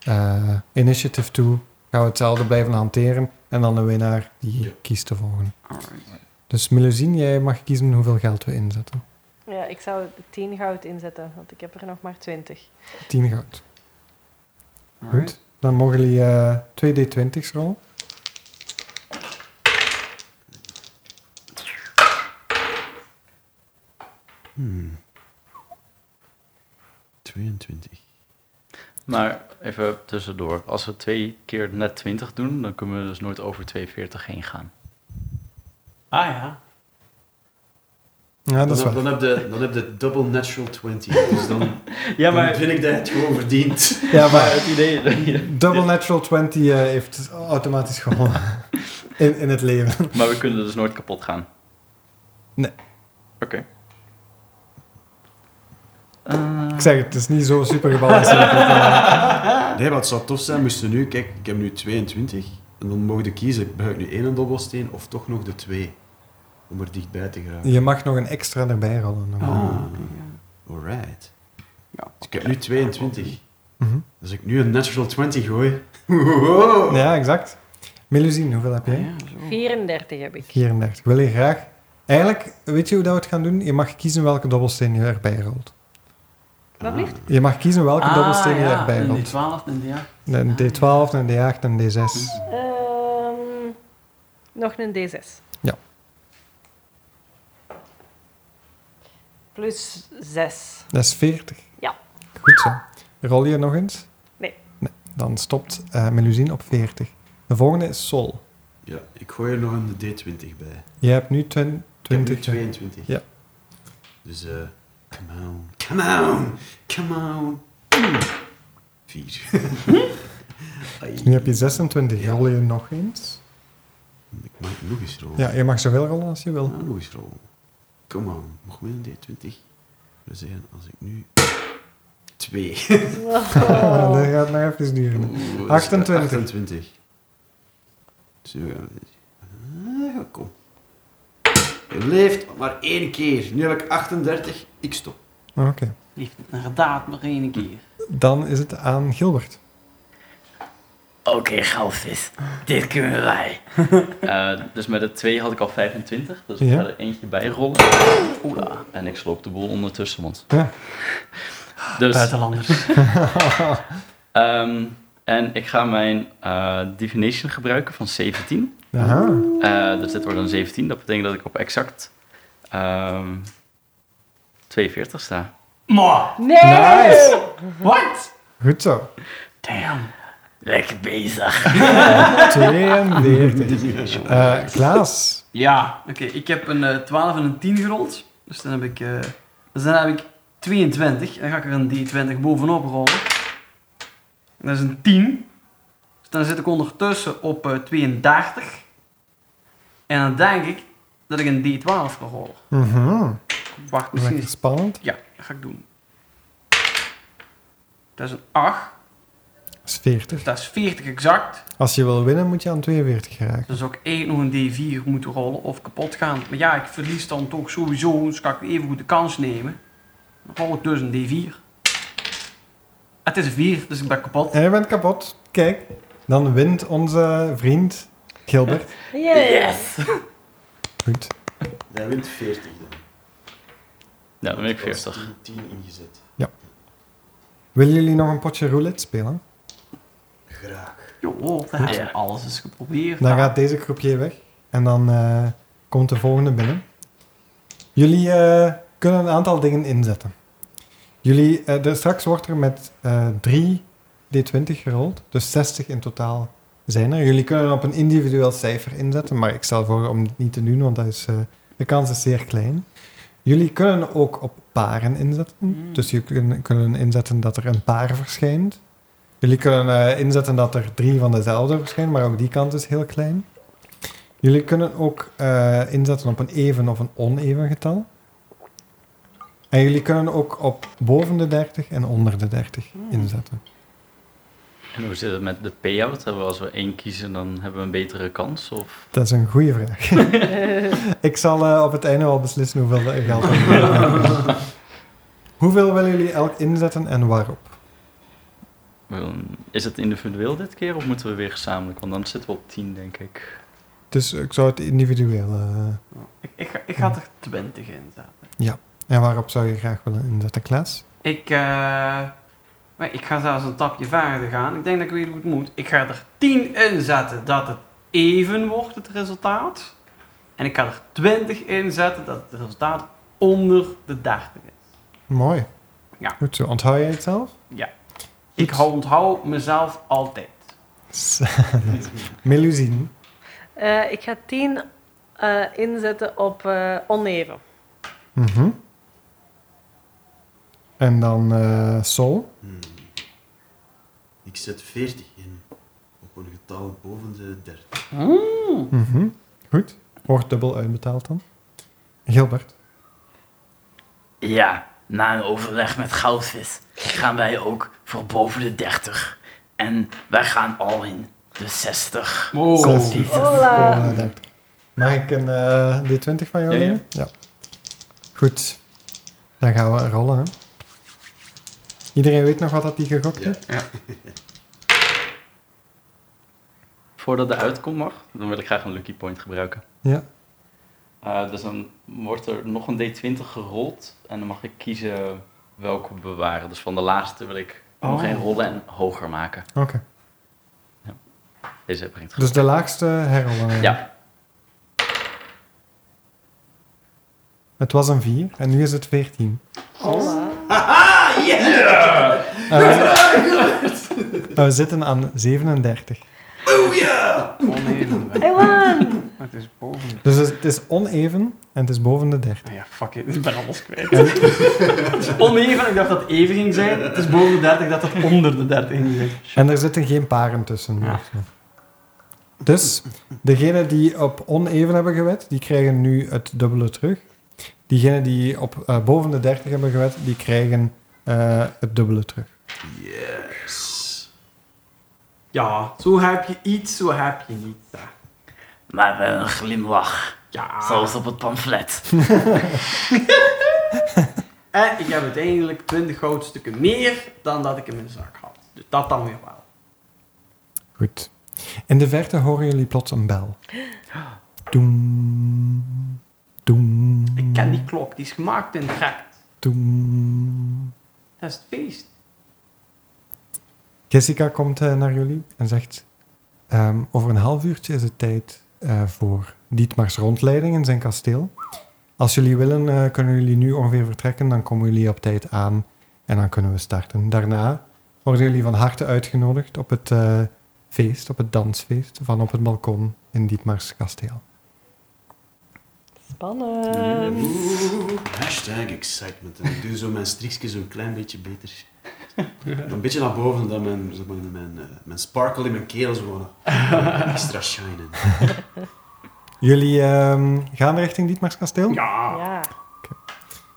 S1: eh, initiative toe gaan we hetzelfde blijven hanteren. En dan de winnaar die
S5: Ja.
S1: kiest te volgen.
S2: Alright.
S1: Dus Melusine, jij mag kiezen hoeveel geld we inzetten.
S3: Ja, ik zou 10 goud inzetten, want ik heb er nog maar 20.
S1: 10 goud.
S2: Alright.
S1: Goed. Dan mogen jullie eh 2d20's rollen.
S5: Hmm. 22.
S4: Maar even tussendoor. Als we twee keer net 20 doen, dan kunnen we dus nooit over 42 heen gaan.
S2: Ah ja.
S1: Ja, dat is
S5: dan,
S1: waar.
S5: dan heb je dan heb je double natural 20. Dus dan,
S4: Ja,
S5: dan vind ik dat je het gewoon verdient.
S1: Ja, maar
S4: het idee...
S1: Double Natural 20 eh, heeft automatisch gewonnen in, in het leven.
S4: maar we kunnen dus nooit kapot gaan.
S1: Nee.
S4: Oké. Eh,
S2: Ah.
S1: Ik zeg het, het is niet zo super gebalanceerd.
S5: Nee, maar het zou tof zijn moesten nu... Kijk, ik heb nu 22. En dan mogen we kiezen, gebruik ik nu één dobbelsteen of toch nog de twee? Om er dichtbij te geraken.
S1: Je mag nog een extra erbij rollen. normaal.
S2: Oh, oké, ja.
S5: Alright.
S2: Ja.
S5: Dus ik heb nu 22.
S1: Mhm.
S5: Als ik nu een natural 20 gooi... Wow.
S1: Ja, exact. Melusine, hoeveel heb jij?
S2: Ah, ja, zo.
S3: 34 heb ik.
S1: 34. Wil je graag... Eigenlijk, weet je hoe dat we het gaan doen? Je mag kiezen welke dobbelsteen je erbij rolt.
S3: Wat blieft?
S1: Je mag kiezen welke
S2: Ah,
S1: dobbelsteen je
S2: ja,
S1: erbij
S2: Een
S1: rolt.
S2: D12 en een D8.
S1: Een D12, een D8 en een D6.
S3: Ehm, nog een D6.
S1: Ja.
S3: Plus 6.
S1: Dat is 40.
S3: Ja.
S1: Goed zo. Rol je nog eens?
S3: Nee.
S1: Dan stopt eh Melusine op 40. De volgende is Sol.
S5: Ja, ik gooi er nog een D20 bij.
S1: Je hebt nu twen-
S5: Ik heb nu
S1: 20.
S5: 22.
S1: Ja.
S5: Dus, eh... come on. Come on. Come on. Mm. Vier. Ai.
S1: Nu heb je 26.
S5: Ja.
S1: Rol je nog eens?
S5: Ik mag nog eens rollen.
S1: Ja, je mag zoveel rollen als je wil.
S5: Ja, nog eens rollen. Come on. Nog met een D20. We zeggen, als ik nu... Twee.
S1: Oh. dat gaat nog even duren.
S5: Oeh, dat is
S1: 28.
S5: 28. Zo, ja. Ah, kom. Je leeft maar één keer. Nu heb ik 38. Ik stop.
S1: Oké.
S2: Heeft het inderdaad nog één keer.
S1: Dan is het aan Gilbert.
S4: Oké, goudvis. Dit kunnen wij. Eh, dus met de 2 had ik al 25. Dus ik
S1: Ja.
S4: ga er eentje bij rollen. Oela. En ik sloop de boel ondertussen, want...
S1: Ja.
S4: Dus,
S2: Buitenlanders.
S4: ehm, en ik ga mijn eh, divination gebruiken van 17.
S1: Aha.
S4: Eh, dus dit wordt een 17. Dat betekent dat ik op exact ehm, 42 sta.
S2: Maar,
S3: Nee!
S1: Nice!
S2: what?
S1: Goed zo.
S2: Damn.
S4: Lekker bezig.
S1: 42. Eh, Klaas.
S2: Ja, oké. Ik heb een eh, 12 en een 10 gerold. Dus dan heb ik, eh, dus dan heb ik 22. Dan ga ik er een D20 bovenop rollen. Dat is een 10. Dus dan zit ik ondertussen op eh, 32. En dan denk ik dat ik een D12 ga rollen.
S1: Mhm.
S2: Wacht, misschien
S1: Lekker
S2: is...
S1: spannend.
S2: Ja, dat ga ik doen. Dat is een 8.
S1: Dat is 40.
S2: Dus dat is 40 exact.
S1: Als je wil winnen, moet je aan 42 geraken.
S2: Dan zou ik eigenlijk nog een D4 moeten rollen of kapot gaan. Maar ja, ik verlies dan toch sowieso, dus kan ik even goed de kans nemen. Dan rol ik dus een D4. Het is een 4, dus ik ben kapot.
S1: En je bent kapot. Kijk, dan wint onze vriend Gilbert.
S3: Yes!
S1: Goed.
S5: Hij wint 40 dan.
S4: Nou, dan ben ik
S5: Dat is
S4: 40.
S5: 10 ingezet.
S1: Ja. Willen jullie nog een potje roulette spelen?
S5: Graag.
S2: Jo, dat is alles is geprobeerd.
S1: Dan gaat deze groepje weg. En dan eh, komt de volgende binnen. Jullie eh, kunnen een aantal dingen inzetten. Jullie, eh, er, straks wordt er met eh 3 D20 gerold. Dus 60 in totaal zijn er. Jullie kunnen op een individueel cijfer inzetten. Maar ik stel voor om het niet te doen, want dat is, eh, de kans is zeer klein. Jullie kunnen ook op paren inzetten.
S2: Mm.
S1: Dus jullie kun- kunnen inzetten dat er een paar verschijnt. Jullie kunnen eh, inzetten dat er drie van dezelfde verschijnen, maar ook die kant is heel klein. Jullie kunnen ook eh, inzetten op een even of een oneven getal. En jullie kunnen ook op boven de 30 en onder de 30 inzetten.
S4: En hoe zit het met de payout? Hebben we Als we één kiezen, dan hebben we een betere kans? Of...
S1: Dat is een goede vraag. Ik zal eh, op het einde wel beslissen hoeveel er geld er Hoeveel willen jullie elk inzetten en waarop?
S4: Ehm, Is het individueel dit keer of moeten we weer gezamenlijk? Want dan zitten we op 10, denk ik.
S1: Dus ik zou het individueel... eh,
S2: Ik, ik, ga- ik ga er 20 in zetten.
S1: en waarop zou je graag willen inzetten, Klaas?
S2: Ik, eh, maar ik ga zelfs een tapje verder gaan. Ik denk dat ik weet hoe het moet. Ik ga er 10 in zetten dat het even wordt, het resultaat. En ik ga er 20 in zetten dat het resultaat onder de 30 is.
S1: Mooi.
S2: Ja.
S1: Goed zo. Onthoud jij het zelf?
S2: Ik hou- onthoud mezelf altijd.
S1: Melusine.
S3: Eh, ik ga 10 eh, inzetten op eh oneven.
S1: Mhm. En dan eh, Sol.
S5: Hmm. Ik zet 40 in. Op een getal boven de 30.
S1: Mhm. Goed. Wordt dubbel uitbetaald dan. Gilbert.
S4: Ja, na een overleg met Goudvis gaan wij ook voor boven de 30. En wij gaan al in de 60.
S1: Zes.
S3: Hola.
S1: Eh, dank. Mag ik een eh, D20 van jou
S4: Ja, ja.
S1: nemen? Ja. Goed. Dan gaan we rollen. Hè. Iedereen weet nog wat dat die gegokt
S5: Ja.
S1: heeft?
S4: Voordat de uitkom mag, dan wil ik graag een lucky point gebruiken.
S1: Ja.
S4: Eh, dus dan wordt er nog een D20 gerold en dan mag ik kiezen welke we bewaren. Dus van de laatste wil ik nog
S2: Oh.
S4: één rollen en hoger maken.
S1: Oké.
S4: Deze brengt goed.
S1: Dus de laagste herrollen.
S4: Ja,
S1: Het was een 4 en nu is het 14.
S3: Hola.
S1: En we, en Eh, we zitten aan 37.
S4: Oh,
S2: Oneven.
S3: I won!
S2: Maar Het is boven. de-
S1: Dus het is oneven en het is boven de 30.
S2: Ah ja, fuck it, ik ben alles kwijt. het is oneven, ik dacht dat het even ging zijn. Het is boven de 30, dat het onder de 30 ging zijn.
S1: En er zitten geen paren tussen.
S2: Ja.
S1: Dus degenen die op oneven hebben gewet, die krijgen nu het dubbele terug. Diegenen die op eh, boven de 30 hebben gewet, die krijgen eh, het dubbele terug.
S5: Yes.
S2: Ja, zo heb je iets, zo heb je niets. hè.
S4: maar wel een glimlach,
S2: Ja,
S4: zoals op het pamflet.
S2: en ik heb uiteindelijk 20 goudstukken meer dan dat ik in mijn zak had. Dus dat dan weer wel.
S1: Goed. In de verte horen jullie plots een bel. Doem. Doem.
S2: Ik ken die klok, die is gemaakt in Trekt.
S1: Doem.
S2: Dat is het feest.
S1: Jessica komt eh, naar jullie en zegt: ehm, Over een half uurtje is het tijd eh, voor Dietmar's rondleiding in zijn kasteel. Als jullie willen, eh, kunnen jullie nu ongeveer vertrekken. Dan komen jullie op tijd aan en dan kunnen we starten. Daarna worden jullie van harte uitgenodigd op het eh, feest, op het dansfeest van op het balkon in Dietmar's kasteel.
S5: Mm.
S3: Spannend.
S5: Hashtag excitement. En ik doe zo mijn strikjes zo'n klein beetje beter. Een beetje naar boven dan mijn, zeg maar, mijn, eh, mijn sparkle in mijn keel zo wat extra shinen.
S1: Jullie ehm, gaan richting Dietmar's kasteel?
S2: Ja.
S3: Ja.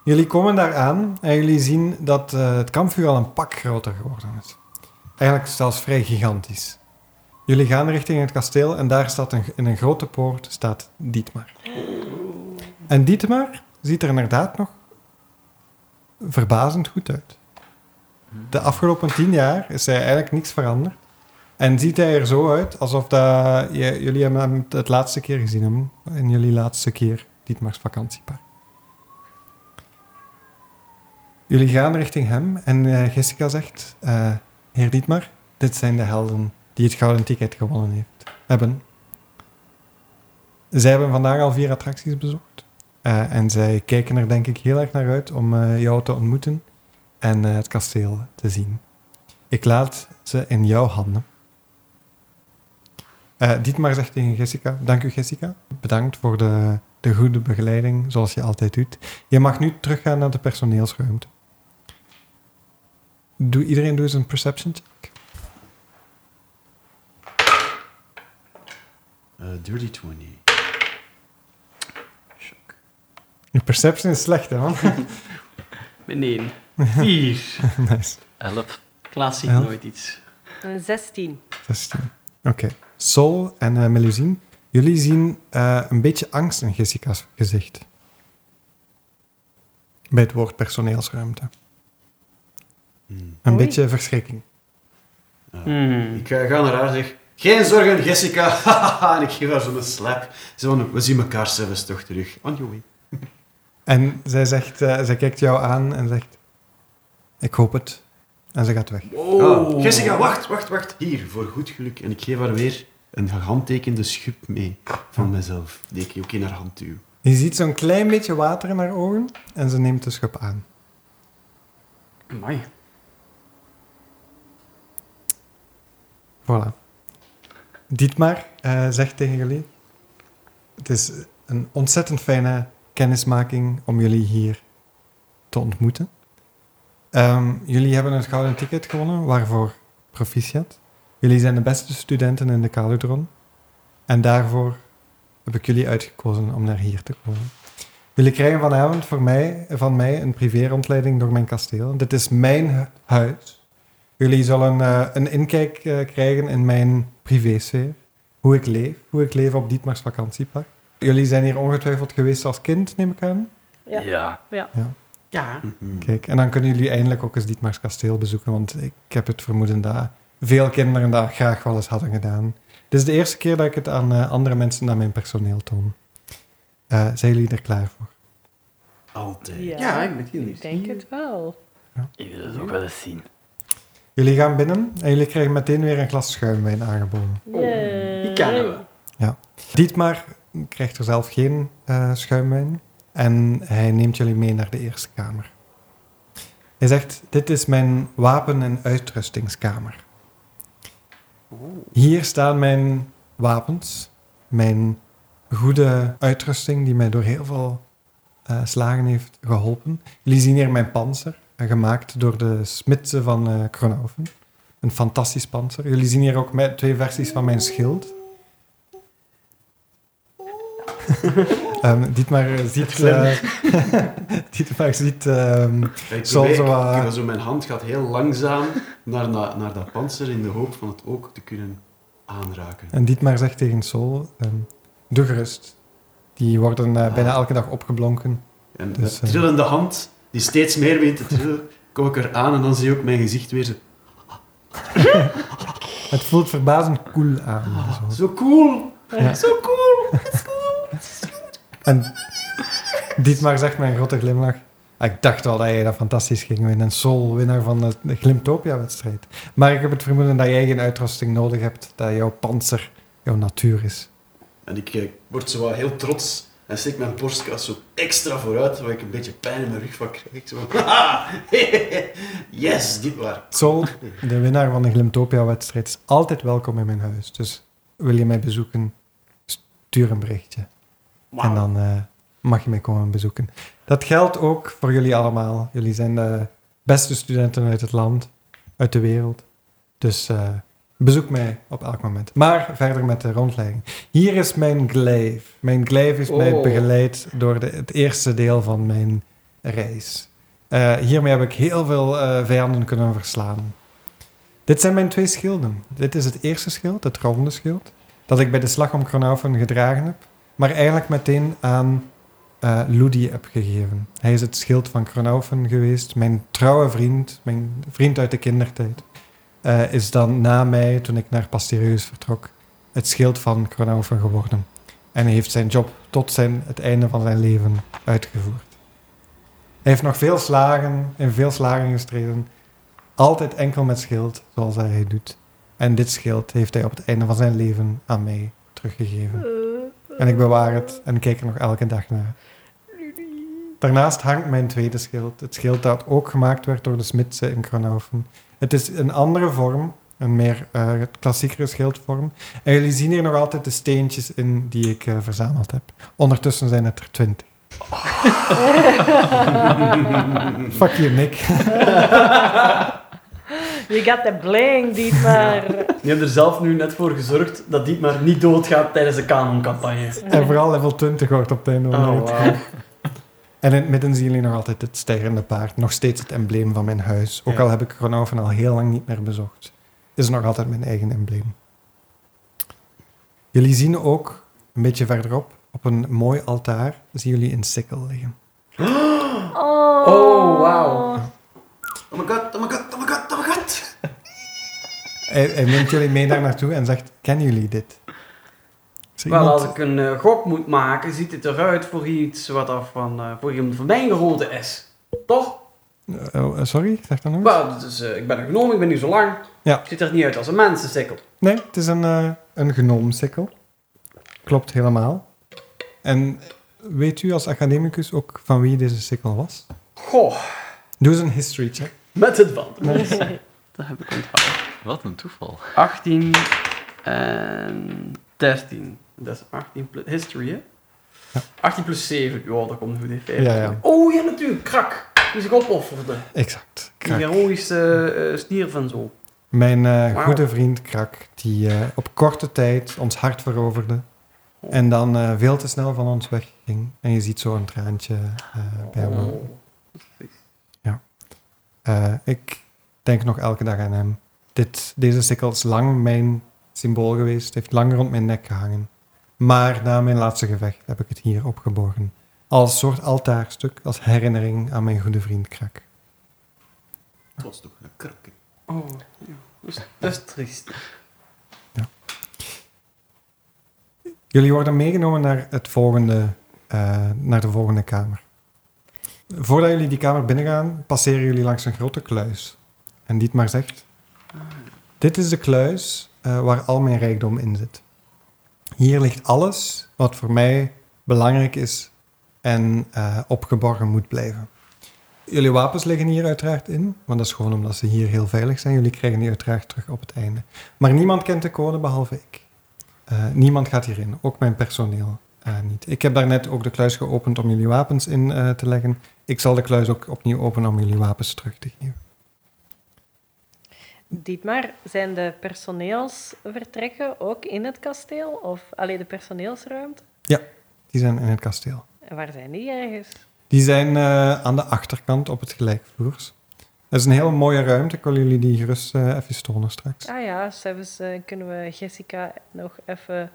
S1: Jullie komen daar aan en jullie zien dat eh, het kampvuur al een pak groter geworden is. Eigenlijk zelfs vrij gigantisch. Jullie gaan richting het kasteel en daar staat een, in een grote poort staat Dietmar. En Dietmar ziet er inderdaad nog verbazend goed uit. De afgelopen tien jaar is hij eigenlijk niks veranderd. En ziet hij er zo uit alsof dat, je- jullie hem- hem het laatste keer gezien hebben. In jullie laatste keer Dietmars vakantiepark. Jullie gaan richting hem en eh, Jessica zegt, eh, heer Dietmar, dit zijn de helden die het gouden ticket gewonnen heeft, hebben. Zij hebben vandaag al vier attracties bezocht eh, en zij kijken er denk ik heel erg naar uit om eh, jou te ontmoeten en eh, het kasteel te zien. Ik laat ze in jouw handen. Eh Dietmar zegt tegen Jessica, dank u Jessica, bedankt voor de, de goede begeleiding zoals je altijd doet. Je mag nu teruggaan naar de personeelsruimte. Doe, iedereen doet een perception check.
S5: Eh, dirty 20.
S1: Je perception is slecht, hè, man?
S2: Beneden. Vier.
S1: nice.
S4: Elf.
S2: Klaas ziet
S1: Elf.
S2: nooit iets.
S3: Een 16.
S1: 16. Oké. Sol en eh, Melusine, jullie zien eh, een beetje angst in Jessica's gezicht. Bij het woord personeelsruimte.
S5: Hmm.
S1: Een
S3: Oei.
S1: beetje verschrikking.
S5: Ah.
S2: Hmm.
S5: Ik ga, ga naar haar zeg. Geen zorgen, Jessica. en ik geef haar zo'n slap. Zo van, we zien elkaar zelfs toch terug. On your way.
S1: En zij, zegt, eh, zij kijkt jou aan en zegt... Ik hoop het. En ze gaat weg.
S2: Oh.
S5: Ah, Jessica, wacht, wacht, wacht. Hier, voor goed geluk. En ik geef haar weer een gehandtekende schub mee
S1: Hm.
S5: van mezelf. Die ik ook in haar hand duw.
S1: Je ziet zo'n klein beetje water in haar ogen en ze neemt de schub aan.
S2: Amai.
S1: Voilà. Dietmar eh, zegt tegen jullie: Het is een ontzettend fijne kennismaking om jullie hier te ontmoeten. Ehm, jullie hebben het gouden ticket gewonnen, waarvoor proficiat. Jullie zijn de beste studenten in de Caludron. En daarvoor heb ik jullie uitgekozen om naar hier te komen. Jullie krijgen vanavond voor mij, van mij een privé-rondleiding door mijn kasteel. Dit is mijn hu- huis. Jullie zullen eh, een inkijk eh, krijgen in mijn privésfeer. Hoe ik leef, hoe ik leef op Dietmar's vakantiepark. Jullie zijn hier ongetwijfeld geweest als kind, neem ik aan.
S3: Ja.
S4: Ja.
S2: Ja.
S5: Mhm.
S1: Kijk, en dan kunnen jullie eindelijk ook eens Dietmar's kasteel bezoeken, want ik heb het vermoeden dat veel kinderen dat graag wel eens hadden gedaan. Dit is de eerste keer dat ik het aan eh, andere mensen, aan mijn personeel toon. Eh, zijn jullie er klaar voor?
S5: Altijd.
S3: Ja.
S2: Ja, ik ben heel
S3: Ik denk het wel.
S4: Ik wil het ook wel eens zien.
S1: Jullie gaan binnen en jullie krijgen meteen weer een glas schuimwijn aangeboden.
S2: Oh, die kennen we.
S1: Dietmar krijgt er zelf geen eh, schuimwijn en hij neemt jullie mee naar de Eerste Kamer. Hij zegt, dit is mijn wapen- en uitrustingskamer. Hier staan mijn wapens, mijn goede uitrusting die mij door heel veel eh, slagen heeft geholpen. Jullie zien hier mijn panzer, eh, gemaakt door de smidse van eh Kronhoven. Een fantastisch panzer. Jullie zien hier ook mijn- twee versies van mijn schild. Ehm Dietmar eh, ziet, eh Dietmar ziet ehm,
S5: Ik,
S1: Zal
S5: probeer-
S1: zo, eh,
S5: ik- ik- zo mijn hand gaat heel langzaam naar, na- naar dat panzer in de hoop van het ook te kunnen aanraken.
S1: en Dietmar zegt tegen Sol, ehm doe gerust. Die worden eh,
S5: Ah.
S1: bijna elke dag opgeblonken.
S5: En de
S1: Dus, eh,
S5: trillende hand, die steeds meer begint te trillen, kom ik er aan en dan zie ik ook mijn gezicht weer zo,
S1: Het voelt verbazend cool aan.
S5: "Ah,
S1: zo.
S5: zo cool,
S1: Ja.
S5: zo cool.
S1: En Dietmar zegt met een grote glimlach, "Ah, ik dacht al dat jij dat fantastisch ging winnen. En Sol, winnaar van de, de Glimtopia-wedstrijd. Maar ik heb het vermoeden dat jij geen uitrusting nodig hebt, dat jouw panzer jouw natuur is.
S5: En ik eh, word zo wat heel trots en steek mijn borstkas zo extra vooruit, waar ik een beetje pijn in mijn rug van krijg. Ik Zo van, "Haha, yes, dit waar.
S1: Sol, de winnaar van de Glimtopia-wedstrijd, is altijd welkom in mijn huis. Dus wil je mij bezoeken, stuur een berichtje. En dan eh, mag je mij komen bezoeken. Dat geldt ook voor jullie allemaal. Jullie zijn de beste studenten uit het land, uit de wereld. Dus eh, bezoek mij op elk moment. Maar verder met de rondleiding. Hier is mijn glijf. Mijn glijf is mij
S2: Oh.
S1: begeleid door de, het eerste deel van mijn reis. Eh, hiermee heb ik heel veel eh, vijanden kunnen verslaan. Dit zijn mijn twee schilden. Dit is het eerste schild, het ronde schild, dat ik bij de slag om Kronaufen gedragen heb, maar eigenlijk meteen aan eh Ludi heb gegeven. Hij is het schild van Kronaufen geweest. Mijn trouwe vriend, mijn vriend uit de kindertijd, eh, is dan na mij, toen ik naar Pastereus vertrok, het schild van Kronaufen geworden. En hij heeft zijn job tot zijn, het einde van zijn leven uitgevoerd. heeft nog veel slagen, in veel slagen gestreden. Altijd enkel met schild, zoals hij doet. En dit schild heeft hij op het einde van zijn leven aan mij teruggegeven. En ik bewaar het en kijk er nog elke dag naar. Daarnaast hangt mijn tweede schild. Het schild dat ook gemaakt werd door de smidse in Kronhoven. Het is een andere vorm, een meer eh, klassiekere schildvorm. En jullie zien hier nog altijd de steentjes in die ik eh, verzameld heb. Ondertussen zijn het er twintig. Fuck you, Nick.
S3: You got the bling, Dietmar.
S6: Je hebt er zelf nu net voor gezorgd dat Dietmar niet doodgaat tijdens de kanoncampagne.
S1: En vooral level 20 wordt op het einde
S6: Oh,
S1: onderuit.
S6: wow.
S1: En in het midden zien jullie nog altijd het sterrende paard. Nog steeds het embleem van mijn huis. Ook
S6: Ja.
S1: al heb ik Gronoven al heel lang niet meer bezocht. Is nog altijd mijn eigen embleem. Jullie zien ook, een beetje verderop, op een mooi altaar, zien jullie een sikkel liggen.
S3: Oh,
S6: Oh, wauw.
S5: Oh my god, oh my god, oh my god, oh my god.
S1: Hij, hij neemt jullie mee daar naartoe en zegt, kennen jullie dit? Is er
S6: Wel,
S1: iemand-
S6: als ik een eh, gok moet maken, ziet het eruit voor iets wat af van, eh, voor iemand van mijn geholte is. Toch?
S1: Eh, oh, eh, sorry, zeg dat nog eens.
S6: Wel, dus, eh, ik ben een genomen, ik ben nu zo lang.
S1: Ja.
S6: Ziet er niet uit als een mensensikkel.
S1: Nee, het is een, eh een genoomsikkel. Klopt helemaal. En weet u als academicus ook van wie deze sikkel was?
S6: Goh,
S1: Doe eens een history check.
S6: met het band.
S2: Dat heb ik onthouden.
S4: Wat een toeval.
S2: 18 en 13.
S6: Dat is 18 plus history, hè?
S1: Ja.
S6: 18 plus 7, ja, dat komt goed in
S1: Ja, ja.
S6: Oh ja, natuurlijk, krak. Die zich opofferde.
S1: Exact.
S6: Die
S1: Krak.
S6: heroïsche eh stierf en zo.
S1: Mijn eh,
S6: Wauw.
S1: goede vriend Krak, die eh, op korte tijd ons hart veroverde. En dan eh, veel te snel van ons wegging. En je ziet zo'n traantje eh, bij hem.
S6: Oh.
S1: Eh, ik denk nog elke dag aan hem. Dit, deze sikkel is lang mijn symbool geweest. Het heeft lang rond mijn nek gehangen. Maar na mijn laatste gevecht heb ik het hier opgeborgen. Als soort altaarstuk, als herinnering aan mijn goede vriend Krak.
S5: Het was toch een krak.
S6: Oh, ja. dat, is, dat is triest.
S1: Jullie worden meegenomen naar, het volgende, eh, naar de volgende kamer. Voordat jullie die kamer binnengaan, passeren jullie langs een grote kluis. En Dietmar zegt... Dit is de kluis eh, waar al mijn rijkdom in zit. Hier ligt alles wat voor mij belangrijk is en eh, opgeborgen moet blijven. Jullie wapens liggen hier uiteraard in, want dat is gewoon omdat ze hier heel veilig zijn. Jullie krijgen die uiteraard terug op het einde. Maar niemand kent de code behalve ik. Eh, niemand gaat hierin, ook mijn personeel eh, niet. Ik heb daarnet ook de kluis geopend om jullie wapens in eh, te leggen. Ik zal de kluis ook opnieuw openen om jullie wapens terug te geven.
S3: Dietmar, zijn de personeelsvertrekken ook in het kasteel? Of alleen de personeelsruimte?
S1: Die zijn in het kasteel.
S3: En waar zijn die ergens?
S1: Die zijn eh, aan de achterkant op het gelijkvloers. Dat is een heel mooie ruimte. Ik wil jullie die gerust eh, even tonen straks.
S3: Ah ja, zelfs eh, kunnen we Jessica nog even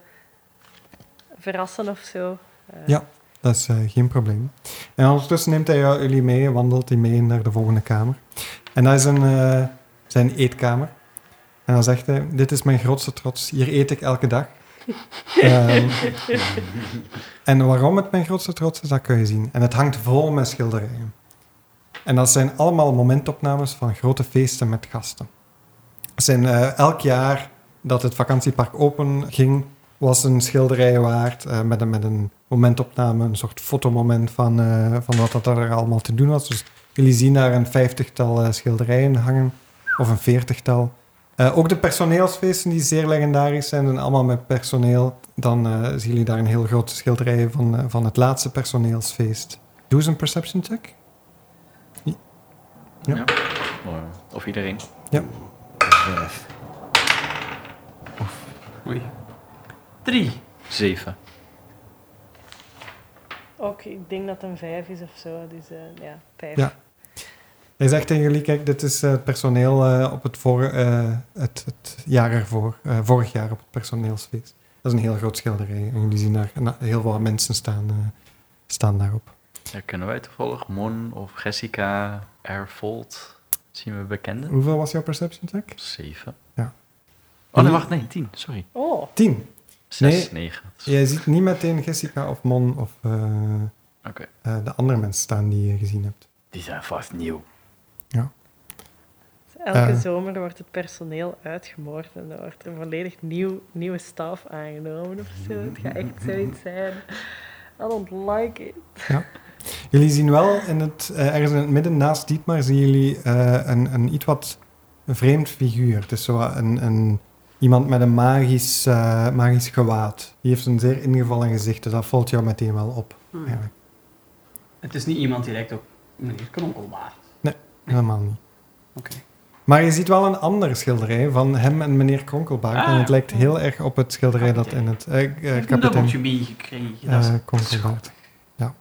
S3: verrassen of zo. Eh,
S1: Ja. Dat is eh, geen probleem. En ondertussen neemt hij jou- jullie mee, wandelt hij mee naar de volgende kamer. En dat is een, eh, zijn eetkamer. En dan zegt hij, dit is mijn grootste trots, hier eet ik elke dag. Ehm, en waarom het mijn grootste trots is, dat kun je zien. En het hangt vol met schilderijen. En dat zijn allemaal momentopnames van grote feesten met gasten. Het zijn eh, elk jaar dat het vakantiepark open ging, was een schilderij waard eh, met, een, met een momentopname, een soort fotomoment van, eh, van wat dat er allemaal te doen was. Dus jullie zien daar een vijftigtal eh, schilderijen hangen, of een veertigtal. Eh, ook de personeelsfeesten die zeer legendarisch zijn, zijn allemaal met personeel. Dan eh, zien jullie daar een heel grote schilderij van, eh, van het laatste personeelsfeest. Doe eens een perception check. Ja.
S4: Mooi. Of iedereen.
S5: Vijf.
S6: 3.
S4: Zeven.
S3: Ook, ik denk dat het een vijf is of zo. Dus eh, ja, vijf.
S1: Ja. Hij zegt tegen jullie, kijk, dit is eh, het personeel eh, op het, vor, eh, het, het jaar ervoor, eh, vorig jaar op het personeelsfeest. Dat is een heel groot schilderij. En jullie zien daar na- heel veel mensen staan, eh, staan daarop.
S4: Daar kunnen wij toevallig Mon of Jessica Erfold zien we bekenden.
S1: Hoeveel was jouw perception check?
S4: Zeven.
S1: Ja.
S4: Oh, nee, wacht, nee, tien. Sorry.
S3: Oh,
S1: Tien.
S4: Zes,
S1: Nee.
S4: negen.
S1: Jij ziet niet meteen Jessica of Mon of eh,
S4: Oké.
S1: eh, de andere mensen staan die je gezien hebt.
S4: Die zijn vast nieuw.
S3: Dus Elke
S1: Eh.
S3: zomer wordt het personeel uitgemoord en dan wordt er volledig nieuw, nieuwe staf aangenomen of zo. Het gaat echt zoiets zijn. I don't like it.
S1: Jullie zien wel, in het, eh, ergens in het midden naast Dietmar, zien jullie eh, een, een iets wat vreemd figuur. Het is zo een, een, iemand met een magisch, eh, magisch gewaad. Die heeft een zeer ingevallen gezicht, dus dat valt jou meteen wel op.
S2: Hmm.
S1: Eigenlijk.
S2: Het is niet iemand die lijkt op meneer Kronkelbaard.
S1: Helemaal niet.
S2: Oké.
S1: Maar je ziet wel een andere schilderij van hem en meneer Kronkelbaard.
S2: Ah,
S1: en het lijkt heel erg op het schilderij dat in
S2: Kapitein.
S1: het... eh, eh,
S2: Ik heb een
S1: kapitein
S2: dubbeltje meegekregen.
S1: eh
S2: Dat is
S1: Kronkelbaard. Ja.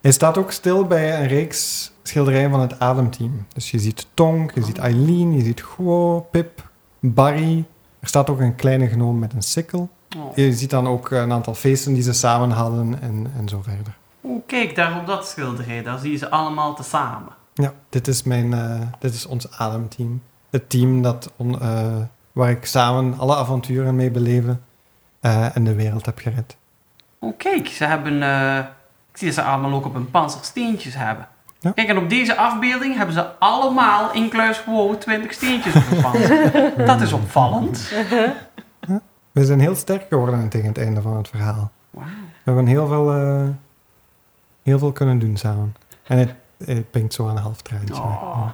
S1: Hij staat ook stil bij een reeks schilderijen van het ademteam. Dus je ziet Tonk, je ziet Eileen, je ziet Guo, Pip, Barry. Er staat ook een kleine gnoom met een sikkel.
S2: Oh.
S1: Je ziet dan ook een aantal feesten die ze samen hadden en, en zo verder.
S2: Oeh, kijk, daar op dat schilderij, daar zie je ze allemaal tezamen.
S1: Ja, dit is, mijn, eh, dit is ons ademteam. Het team dat on- eh, waar ik samen alle avonturen mee beleefde eh, en de wereld heb gered.
S2: Oeh, Oh, kijk, ze hebben... eh, ik zie dat ze allemaal ook op hun panzer steentjes hebben.
S1: Ja.
S2: Kijk, en op deze afbeelding hebben ze allemaal in kluis gewoon 20 steentjes op hun panzer. dat is opvallend.
S1: We zijn heel sterk geworden tegen het einde van het verhaal.
S2: Wauw.
S1: We hebben heel veel, eh, heel veel kunnen doen samen. En het, het pinkt zo aan een half treintje.
S2: Oh.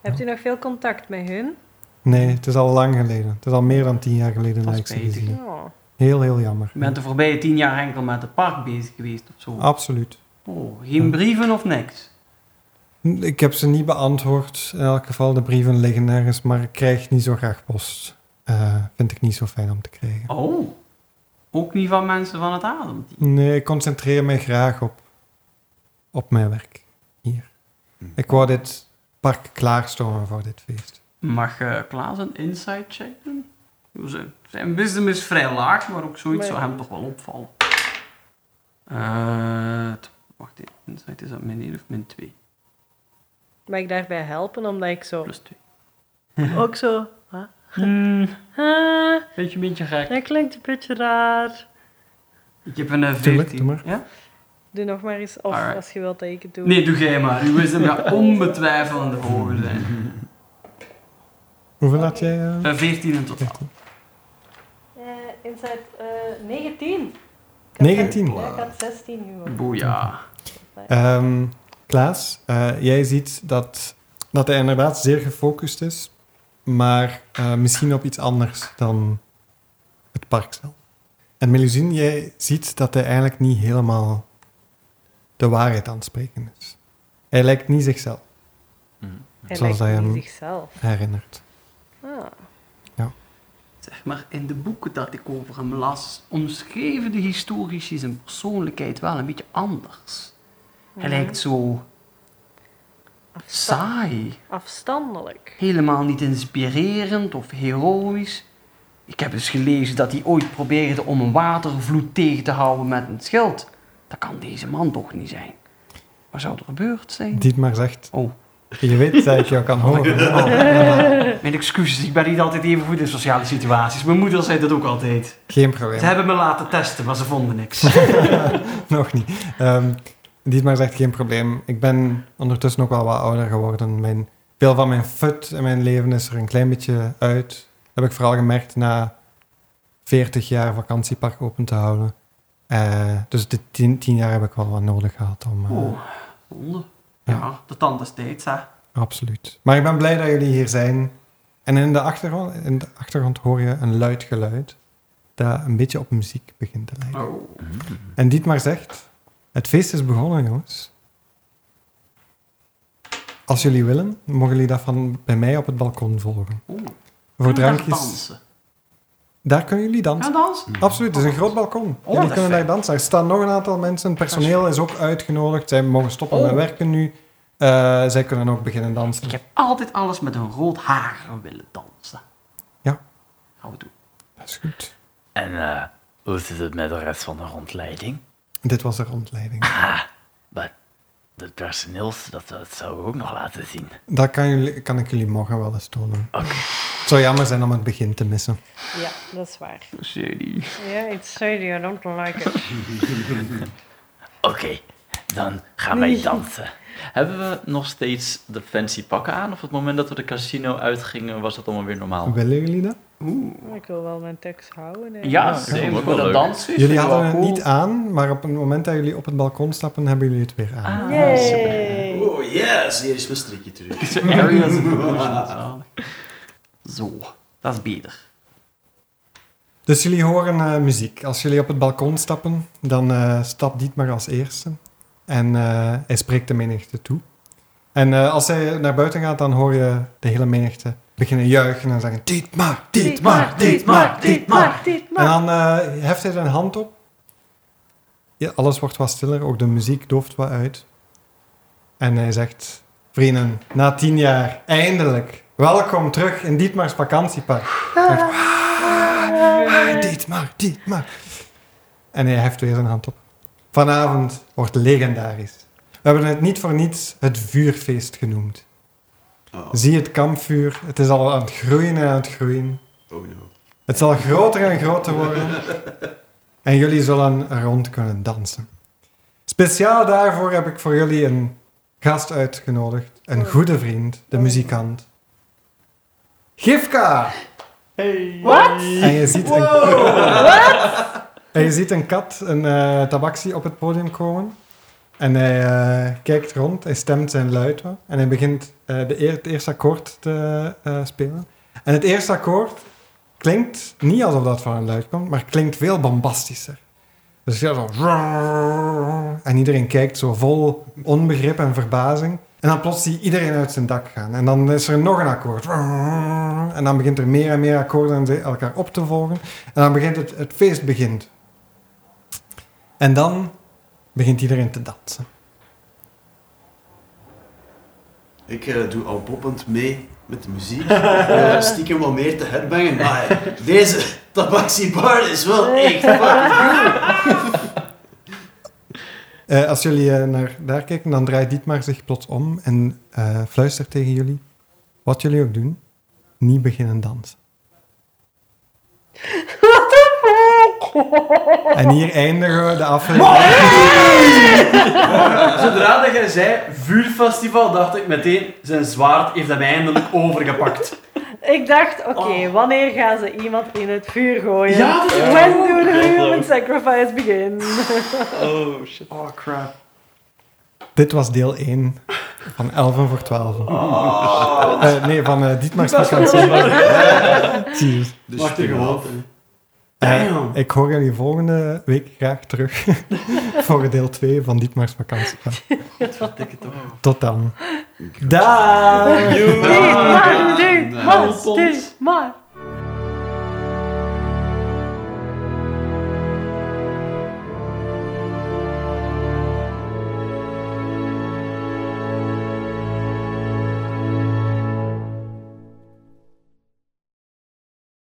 S3: Hebt u nog veel contact met hun?
S1: Nee, het is al lang geleden. Het is al meer dan tien jaar geleden dat
S2: Dat is
S1: ik ze
S2: beter.
S1: gezien heb.
S3: Oh.
S1: Heel, heel jammer.
S2: Je bent de voorbije tien jaar enkel met het park bezig geweest of
S1: Ah.
S2: zo.
S1: Absoluut.
S2: Oh, geen brieven of niks.
S1: Ik heb ze niet beantwoord. In elk geval, de brieven liggen ergens, maar ik krijg niet zo graag post. Eh, vind ik niet zo fijn om te krijgen.
S2: Oh, ook niet van mensen van het ademteam.
S1: Nee, ik concentreer mij graag op, op mijn werk hier. Ik wou dit park klaarstomen voor dit feest.
S2: Mag eh, Klaas een inside check doen? Zijn, zijn wisdom is vrij laag, maar ook zoiets
S3: Nee.
S2: zou hem toch wel opvallen. Eh, t- wacht even, insight is dat min 1 of min 2?
S3: Mag ik daarbij helpen? Omdat ik zo...
S2: Plus 2.
S3: Ook zo... huh? Huh?
S2: beetje, een beetje gek.
S3: dat klinkt een beetje raar.
S2: Ik heb een eh,
S1: Tuurlijk,
S2: 14.
S1: doe maar.
S2: Ja?
S3: Doe nog maar eens. Of
S2: Alright.
S3: als je wilt dat ik het doe.
S2: Nee, doe jij maar. Uw wisdom gaat onbetwijfelend hoger zijn.
S1: Hoeveel had jij? eh?
S2: Eh, 14 in totaal.
S3: Eh, inside eh, 19. Ik had
S1: 19?
S3: Ja, ik had 16 nu. ook.
S2: Boeja.
S1: Ehm, Klaas, eh, jij ziet dat, dat hij inderdaad zeer gefocust is, maar eh, misschien op iets anders dan het park zelf. En Melusine, jij ziet dat hij eigenlijk niet helemaal de waarheid aan het spreken is. Hij lijkt niet zichzelf,
S3: Hij
S1: Zoals
S3: lijkt
S1: hij hem-
S3: niet zichzelf.
S1: herinnert.
S3: Ah.
S2: Zeg maar, in de boeken dat ik over hem las, omschreven de historici zijn persoonlijkheid wel een beetje anders. Hij lijkt zo
S3: Afsta-
S2: saai,
S3: afstandelijk.
S2: helemaal niet inspirerend of heroïs. Ik heb eens gelezen dat hij ooit probeerde om een watervloed tegen te houden met een schild. Dat kan deze man toch niet zijn? Wat zou er gebeurd zijn?
S1: Dietmar zegt,
S2: Oh,
S1: je weet dat ik jou kan horen.
S2: mijn excuses, ik ben niet altijd even goed in sociale situaties. Mijn moeder zei dat ook altijd.
S1: Geen
S2: Ze
S1: probleem,
S2: hebben me laten testen, maar ze vonden niks.
S1: nog niet. Ehm, Dietmar zegt, geen probleem. Ik ben ondertussen ook wel wat ouder geworden. Mijn veel van mijn fut in mijn leven is er een klein beetje uit. Dat heb ik vooral gemerkt na 40 jaar vakantiepark open te houden. Eh, dus de 10 jaar heb ik wel wat nodig gehad om. eh,
S2: Oh, zonde.
S1: Ja.
S2: Ja, de tand is steeds, hè.
S1: Absoluut. Maar ik ben blij dat jullie hier zijn. En in de achtergrond, in de achtergrond hoor je een luid geluid dat een beetje op muziek begint te lijken.
S2: Oh.
S1: En Dietmar zegt: Het feest is begonnen, jongens. Als jullie willen, mogen jullie dat van bij mij op het balkon volgen.
S2: Oeh.
S1: Voor
S2: Kunnen we daar
S1: drankjes.
S2: dansen?
S1: Daar kunnen jullie dansen.
S2: Gaan dansen?
S1: Absoluut, het is een groot balkon.
S2: Oh,
S1: jullie
S2: dat is
S1: kunnen daar
S2: fijn.
S1: dansen. Er staan nog een aantal mensen. Het personeel is ook uitgenodigd. Zij mogen stoppen met
S2: Oh.
S1: werken nu. Eh, zij kunnen ook beginnen dansen.
S2: Ik heb altijd alles met een rood haar willen dansen.
S1: Ja.
S2: Gaan we doen.
S1: Dat is goed.
S4: En eh, hoe zit het met de rest van de rondleiding?
S1: Dit was de rondleiding.
S4: Maar het personeel, dat, dat zouden we ook nog laten zien.
S1: Dat kan, jullie, kan ik jullie morgen wel eens tonen. Het zou jammer zijn om het begin te missen.
S3: Ja, dat is waar.
S2: Shady.
S3: Ja, it's shady. I don't like it.
S4: Oké, Dan gaan wij dansen. Hebben we nog steeds de fancy pakken aan? Of op het moment dat we de casino uitgingen, was dat allemaal weer
S2: Oh.
S4: normaal?
S1: Willen jullie dat?
S3: Maar ik wil wel mijn tekst houden. hè.
S2: Ja,
S4: dat
S2: zeker.
S4: vond
S2: Voor
S4: ik wel
S2: dat
S4: leuk.
S2: dansfeest.
S1: Dus Jullie
S2: vind ik wel
S1: hadden het
S2: cool.
S1: niet aan, maar op het moment dat jullie op het balkon stappen, hebben jullie het weer aan.
S4: Ah,
S3: Yay.
S5: Oh yes, hier is mijn strikje terug.
S2: super. Areas of illusion, zalig. Zo, dat is beter.
S1: Dus jullie horen eh, muziek. Als jullie op het balkon stappen, dan eh stapt Dietmar als eerste. En eh, hij spreekt de menigte toe. En eh, als hij naar buiten gaat, dan hoor je de hele menigte beginnen juichen en zeggen... Dietmar, Dietmar, Dietmar, Dietmar.
S3: dit
S1: En dan eh, heft hij zijn hand op. Ja, alles wordt wat stiller, ook de muziek dooft wat uit. En hij zegt... Vrienden, na tien jaar, eindelijk, welkom terug in Dietmars vakantiepark. Hij zegt, "Ah, Dietmar, Dietmar. En hij heft weer zijn hand op. Vanavond wordt legendarisch. We hebben het niet voor niets het vuurfeest genoemd.
S5: Oh,
S1: Zie het kampvuur, het is al aan het groeien en aan het groeien.
S5: oh no.
S1: Het zal groter en groter worden. En jullie zullen er rond kunnen dansen. Speciaal daarvoor heb ik voor jullie een gast uitgenodigd. Een goede vriend, de muzikant. Gifka!
S3: Wat?
S1: En je ziet een, en je ziet een kat, een eh tabaksie op het podium komen. En hij eh, kijkt rond, hij stemt zijn luid wat. En hij begint eh, de eer- het eerste akkoord te eh, spelen. En het eerste akkoord klinkt niet alsof dat van een luid komt, maar klinkt veel bombastischer. Dus ja, zo... En iedereen kijkt zo vol onbegrip en verbazing. En dan plots zie je iedereen uit zijn dak gaan. En dan is er nog een akkoord. En dan begint er meer en meer akkoorden en ze elkaar op te volgen. En dan begint het, het feest begint. En dan begint iedereen te dansen.
S5: Ik eh, doe al boppend mee met de muziek. Eh, stiekem wat meer te herbengen, maar deze tabaxiebar is wel echt fucking goed.
S1: Eh, als jullie eh, naar daar kijken, dan draait Dietmar zich plots om en eh, fluistert tegen jullie. Wat jullie ook doen, niet beginnen dansen. En hier eindigen we de aflevering.
S6: Zodra dat jij zei vuurfestival, dacht ik meteen, zijn zwaard heeft hem eindelijk overgepakt.
S3: Ik dacht, oké,
S2: Oh.
S3: wanneer gaan ze iemand in het vuur gooien?
S6: Ja, dat is
S3: When do the
S4: klopt
S3: human
S4: ook.
S3: sacrifice begin?
S4: Oh, shit.
S6: Oh crap.
S1: Dit was deel 1 van 11 voor 12. Eh, nee, van eh, Dietmar's
S6: Dietmar's
S1: vakantie. Cheers.
S5: Dus
S6: Wacht even,
S5: ja,
S6: wat?
S1: Eh,
S6: Damn.
S1: ik hoor jullie volgende week graag terug voor deel 2 van Dietmar's vakantie. Tot dan. Daag!
S3: Dit maar, dit
S5: nice.
S3: maar, dit maar.